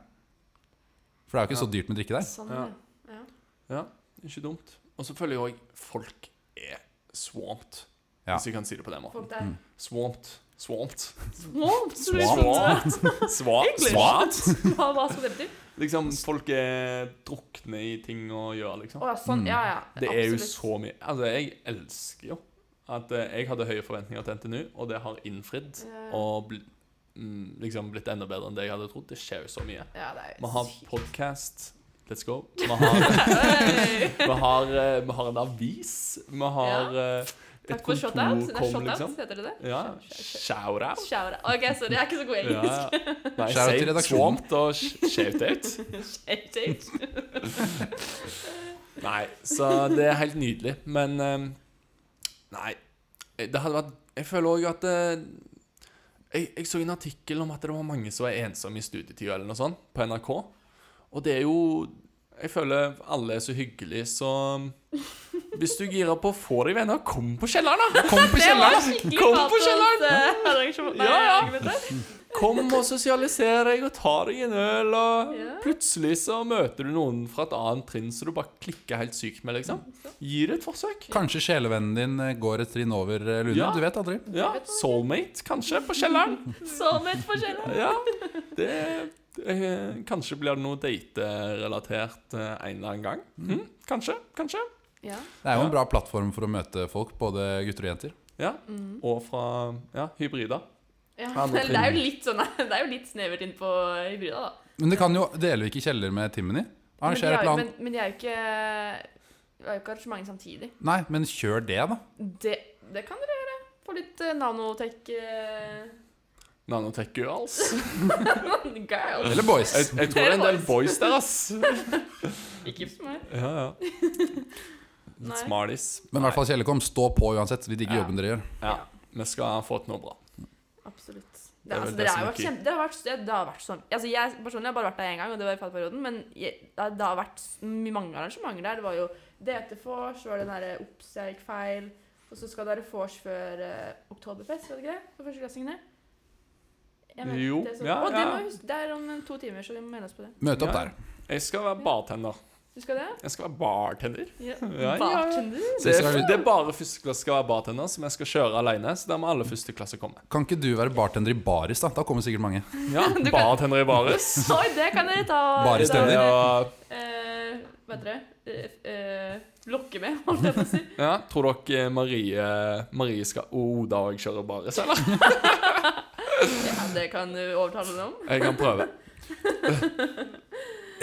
S3: For det er jo ikke så dyrt med drikke der.
S2: Sånn,
S1: Ja.
S2: ja.
S1: Ja, det er ikke dumt. Og så føler jeg òg folk er swamped,
S3: Ja.
S1: hvis jeg kan si det på den måten.
S3: Mm.
S2: Folk der.
S1: Swamped. Swamped.
S2: Swamp.
S1: Swamped. Swa-
S2: English.
S1: Swamped.
S2: liksom- Hva, hva skal det bety?
S1: Liksom, folk er drukne i ting å gjøre, liksom.
S2: Å ja,
S3: Mm.
S2: sånn. Ja, ja.
S1: Det er jo
S2: absolutt.
S1: så mye Altså, jeg elsker jo at eh, jeg hadde høye forventninger til NTNU, og det har innfridd.
S2: Ja.
S1: Og bl mm, liksom blitt enda bedre enn det jeg hadde trodd. Det skjer jo så mye.
S2: Ja, det er
S1: Vi
S2: jo
S1: har
S2: sykt.
S1: podkast. Let's go. Vi har,
S2: Hey.
S1: vi har, eh, vi har en avis. Vi har eh, et
S2: Takk for shout-out. Det er
S1: kontorkom,
S2: shout-out,
S1: liksom.
S2: heter det det?
S1: Ja.
S2: Shout-out.
S1: Shout-out.
S2: Shout-out. OK, sorry, jeg er ikke så god i
S1: Ja,
S2: engelsk.
S1: ja. Nei,
S3: Shout-out til
S1: si
S3: redaksjonen.
S1: swamped og sh- shout-out.
S2: Shout-out.
S1: Nei, så det er helt nydelig. Men eh, Nei. Det hadde vært Jeg føler òg at eh, jeg, jeg så en artikkel om at det var mange som var ensomme i studietida eller noe sånt, på NRK. Og det er jo Jeg føler alle er så hyggelige, så ehm, hvis du girer på å få deg venner, kom på kjelleren, da! Kom på
S2: Det var
S1: kjelleren!
S2: skikkelig
S1: Kom på
S2: patos, eh, arrangement- nei,
S1: Ja, ja.
S2: argumenter.
S1: Kom og sosialiser deg og ta deg en øl, og
S2: Ja.
S1: plutselig så møter du noen fra et annet trinn som du bare klikker helt sykt med, liksom. Gi det et forsøk.
S3: Kanskje sjelevennen din eh, går et trinn over eh, Lune.
S1: Ja.
S3: Du vet aldri.
S1: Ja, soulmate, kanskje, på kjelleren.
S2: Sånn et forskjell.
S1: Ja, det eh, Kanskje blir det noe date-relatert eh, en eller annen gang. Mm, kanskje, kanskje.
S2: Ja.
S3: Det er jo
S1: Ja.
S3: en bra plattform for å møte folk, både gutter og jenter.
S1: Ja, Og fra ja, hybrider.
S2: Ja,
S1: Ja, nå
S2: eller det er jo litt sånn Det er jo litt snevert inn på hybrida, da.
S3: Men det kan jo, deler vi ikke kjeller med Timony?
S2: Men de,
S3: Arranger et
S2: har, jo-
S3: eller
S2: men,
S3: annet.
S2: men de er jo ikke Det er jo ikke arrangementer samtidig.
S3: Nei, men kjør det, da.
S2: Det, det kan dere gjøre. Få litt eh, nanotech eh,
S1: Nanotech girls.
S2: girls.
S3: Eller boys.
S1: Jeg, jeg tror det er en del boys der, ass.
S2: Ikke for meg.
S1: Ja, ja.
S2: Nei.
S1: Litt smarties.
S3: Men i hvert fall Kjellekom, stå på uansett. Vi digger
S2: Ja.
S3: jobben dere gjør.
S1: Ja, vi skal få til noe bra.
S2: Absolutt. Det,
S1: Det er vel
S2: altså,
S1: det
S2: dere
S1: som
S2: har jo
S1: ikke-
S2: vært kjempe... Dere har vært, det, det har vært sånn altså, Jeg personlig har bare vært der én gang, og det var i fallperioden, men jeg, det, det har vært s- mange arrangementer der. Det var jo DT-vors, så var det den derre Ops, jeg gikk feil. Og så skal det være vors før eh, Oktoberfest, var det ikke det? For førsteklassingene. Jeg mener,
S1: Jo,
S2: det er sånn-
S1: ja,
S2: Å,
S1: ja.
S2: det må vi huske. Det er om eh, to timer, så vi må melde oss på det.
S3: Møte opp
S1: Ja.
S3: der.
S1: Jeg skal være bartender.
S2: Husker du det?
S1: Jeg skal være bartender.
S2: Ja.
S1: ja, ja.
S2: Bartender.
S1: Det er, det er bare førsteklasse skal være bartender, som jeg skal kjøre alene. Så der må alle førsteklasse komme.
S3: Kan ikke du være bartender i baris, da? Da kommer sikkert mange.
S1: Ja,
S2: Du kan-
S1: Bartender i baris.
S2: Oi, det kan dere ta
S3: Bare
S2: ta-
S3: stemmer.
S1: Ja,
S2: Eh, Hva heter det? Eh, eh, Lokke med, holdt jeg på å si.
S1: ja, tror dere eh, Marie, Marie skal oh, da jeg kjører baris, eller?
S2: Ja, det kan du overtale dem om.
S1: Jeg kan prøve.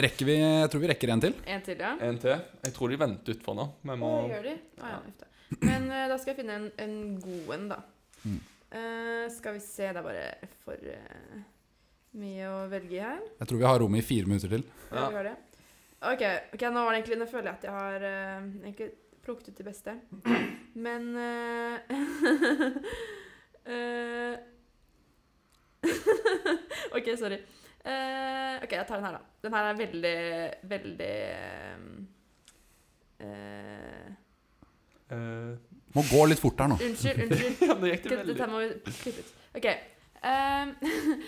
S3: Rekker vi, jeg tror vi rekker en til.
S2: En til, ja.
S1: En til. Jeg tror de venter utfor nå. Vi må
S3: Mm.
S2: Hva gjør de? Ah, ja, uff da. Men eh, da skal jeg finne en, en god en, da.
S3: Mm.
S2: Eh, skal vi se, det er bare for eh, mye å velge i her.
S3: Jeg tror vi har rommet i fire minutter til.
S2: Ja.
S1: Ja.
S2: vi har det. Ok, ok, nå var det egentlig Nå føler jeg at jeg har eh, egentlig plukket ut det beste. Men eh, eh, OK, sorry. Eh, OK, jeg tar den her, da. Den her er veldig, veldig eh, eh,
S1: Eh,
S3: Må gå litt fort her nå.
S2: Unnskyld, unnskyld.
S1: Ja, nå gikk det
S2: Dette,
S1: veldig
S2: dette må vi klippe ut. OK. ehm,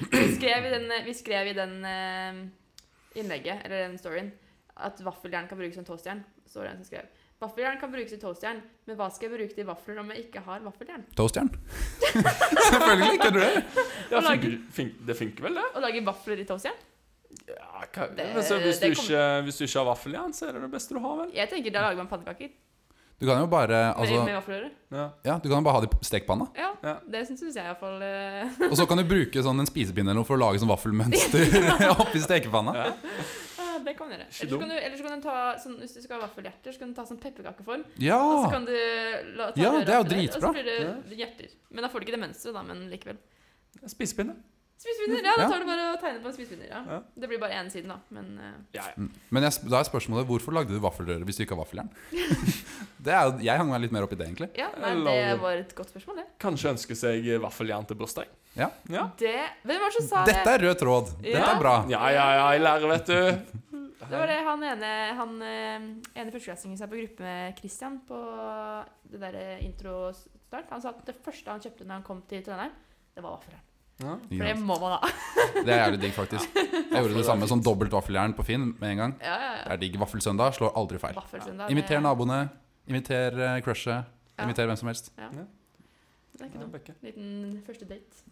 S2: vi, skrev i den, vi skrev i den ehm, innlegget, eller den storyen, at vaffeljern kan brukes som toastjern. Så var det en som skrev. Vaffeljern kan brukes i toastjern, men hva skal jeg bruke til vafler om jeg ikke har vaffeljern?
S3: Toastjern. Selvfølgelig kan du det.
S1: ja, funker, fun- Det funker vel, det?
S2: Å lage vafler i toastjern?
S1: Ja, hva,
S2: Det-
S1: men så hvis, du
S2: det kom-
S1: ikke, hvis du ikke har vaffeljern, så er det det beste du har, vel?
S2: Jeg tenker da lager man pannekaker med,
S3: Du kan jo bare altså,
S2: med vaffelrøre.
S1: Ja.
S3: Ja, du kan jo bare ha det i stekepanna.
S2: Ja,
S1: Ja.
S2: det syns jeg iallfall. Uh,
S3: Og så kan du bruke sånn en spisepinne eller noe for å lage sånn vaffelmønster oppi stekepanna.
S1: Ja.
S2: ah, det kan man gjøre.
S1: Ikke
S2: Eller så kan du, ellers så kan du ta sånn, hvis du skal ha vaffelhjerter, så kan du ta sånn pepperkakeform.
S3: Ja!
S2: Og så kan du la, ta
S3: Ah. Ja,
S2: røra
S3: det er jo
S2: oppi der,
S3: dritbra. Mm,
S2: Og så blir det hjerter. Men da får du ikke det mønsteret, da, men likevel.
S1: Spisepinne.
S2: Spisepinner! Ja, da
S3: Ja.
S2: tar du bare og tegner på en spisepinner. Ja.
S1: Ja.
S2: Det blir bare én side, da. Men eh,
S1: Ja, ja.
S3: Mm. Men jeg, da er spørsmålet hvorfor lagde du vaffelrøre hvis du ikke har vaffeljern? Det er jo, jeg hang meg litt mer opp i det, egentlig.
S2: ja, nei,
S1: Eller-
S2: det var et godt spørsmål, det.
S1: Kanskje ønske seg vaffeljern til bursdag.
S3: Ja.
S1: Ja.
S2: Det Hvem var det som sa
S3: Dette er rød tråd. Dette
S2: Ja.
S3: er bra.
S1: ja, ja, ja, jeg lærer, vet du.
S2: det? Det var det han ene Han eh, ene førsteklassingen som er på gruppe med Christian på det derre introstart, han sa at det første han kjøpte når han kom til Trondheim, det var vaffeljern.
S1: Ja.
S2: For det
S3: Ja,
S2: må man ha.
S3: det er jævlig digg, faktisk. Jeg gjorde det samme som dobbelt vaffeljern på Finn med en gang.
S2: Ja, ja,
S3: Det
S2: ja.
S3: er digg. Vaffelsøndag slår aldri feil.
S2: Vaffelsøndag. det-
S3: Imiter naboene, imiter eh, crushet,
S2: Ja.
S3: imiter hvem som helst.
S2: Det er ikke
S1: Ja,
S2: dumt.
S1: Bekke.
S2: Liten første date.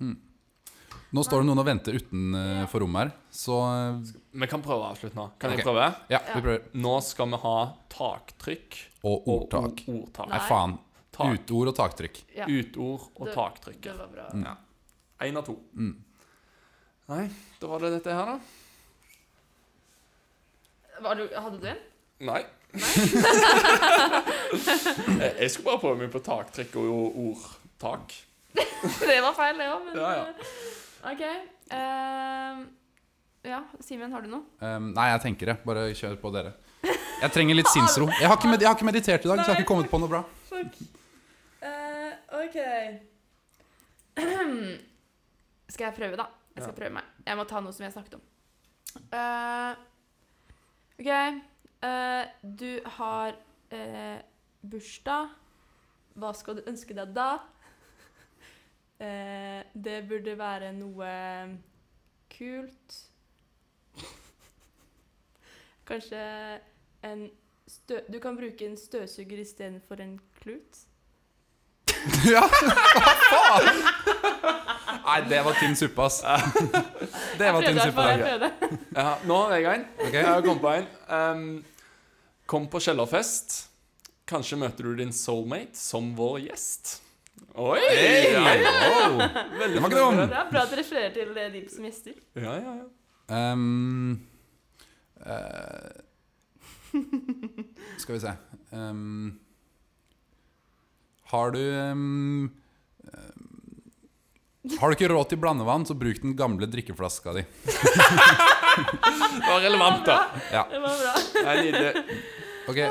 S3: Nå står det noen og venter utenfor rommet her, så
S1: Vi kan prøve å avslutte nå. Kan
S3: Ok.
S1: jeg prøve?
S3: ja, vi prøver.
S1: Nå skal vi ha taktrykk
S3: Og
S1: og
S3: ordtak.
S1: o- ordtak.
S3: Nei,
S2: Nei.
S3: faen.
S1: Tak,
S3: Utord og taktrykk.
S2: Ja,
S1: Utord og
S2: Det-
S1: taktrykk.
S2: det var bra.
S3: Mm.
S1: Én av to.
S3: Mm.
S1: Nei, da var det dette her, da.
S2: Var du, hadde du en?
S1: Nei. Eh, jeg skulle bare prøve meg på taktrykk og og ordtak.
S2: Det var feil, det òg, men eh,
S1: Ja, ja.
S2: OK. ehm, ja, Simen, har du noe?
S3: Um, nei, jeg tenker det. Bare kjør på dere. Jeg trenger litt sinnsro. Jeg har ikke, med, jeg har ikke meditert i dag, så jeg har ikke kommet på noe bra.
S2: Fuck. Eh, OK. skal jeg prøve, da? Jeg skal
S1: Ja.
S2: prøve meg. Jeg må ta noe som jeg snakket om. Eh, OK. eh, du har eh, bursdag. Hva skal du ønske deg da? Eh, det burde være noe kult. Kanskje en stø... Du kan bruke en støvsuger istedenfor en klut.
S3: Ja, hva faen? Nei, det var tynn suppe, ass. Det var tynn suppe.
S2: Jeg
S3: da.
S2: prøvde.
S1: Ja, nå har jeg en.
S3: Ok.
S1: Jeg har kommet på en. Ehm, kom på kjellerfest. Kanskje møter du din soulmate som vår gjest. Oi!
S3: Hey!
S1: Ja, ja.
S3: Wow.
S1: Veldig
S3: Den var ikke dum.
S2: Det er bra at du refererer til eh, de som gjester.
S1: Ja, ja, ja.
S3: Um, eh, skal vi se um, Har du um, um, Har du ikke råd til blandevann, så bruk den gamle drikkeflaska di.
S1: Det var relevant, da.
S3: Ja,
S2: Det var bra.
S1: Det er nydelig.
S3: ok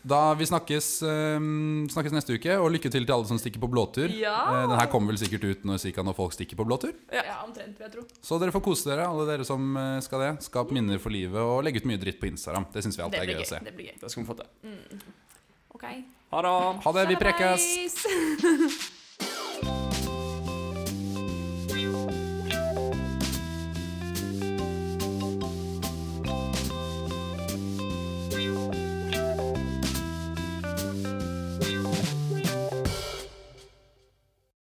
S3: Da vi snakkes, um, snakkes neste uke, og lykke til til alle som stikker på blåtur.
S2: Ja.
S3: Eh, Den her kommer vel sikkert ut når, cirka når folk stikker på blåtur.
S2: Ja, omtrent, vil jeg tro.
S3: Så dere får kose dere, alle dere som eh, skal det. Skap minner for livet, og legg ut mye dritt på Instagram. Det syns vi alltid
S2: Det
S3: er
S2: blir
S3: gøy å
S2: gøy.
S3: se.
S2: Det blir gøy.
S1: Det skal vi få til.
S2: OK.
S1: Ha det.
S3: Ha det, vi prekes!
S2: Snakkes!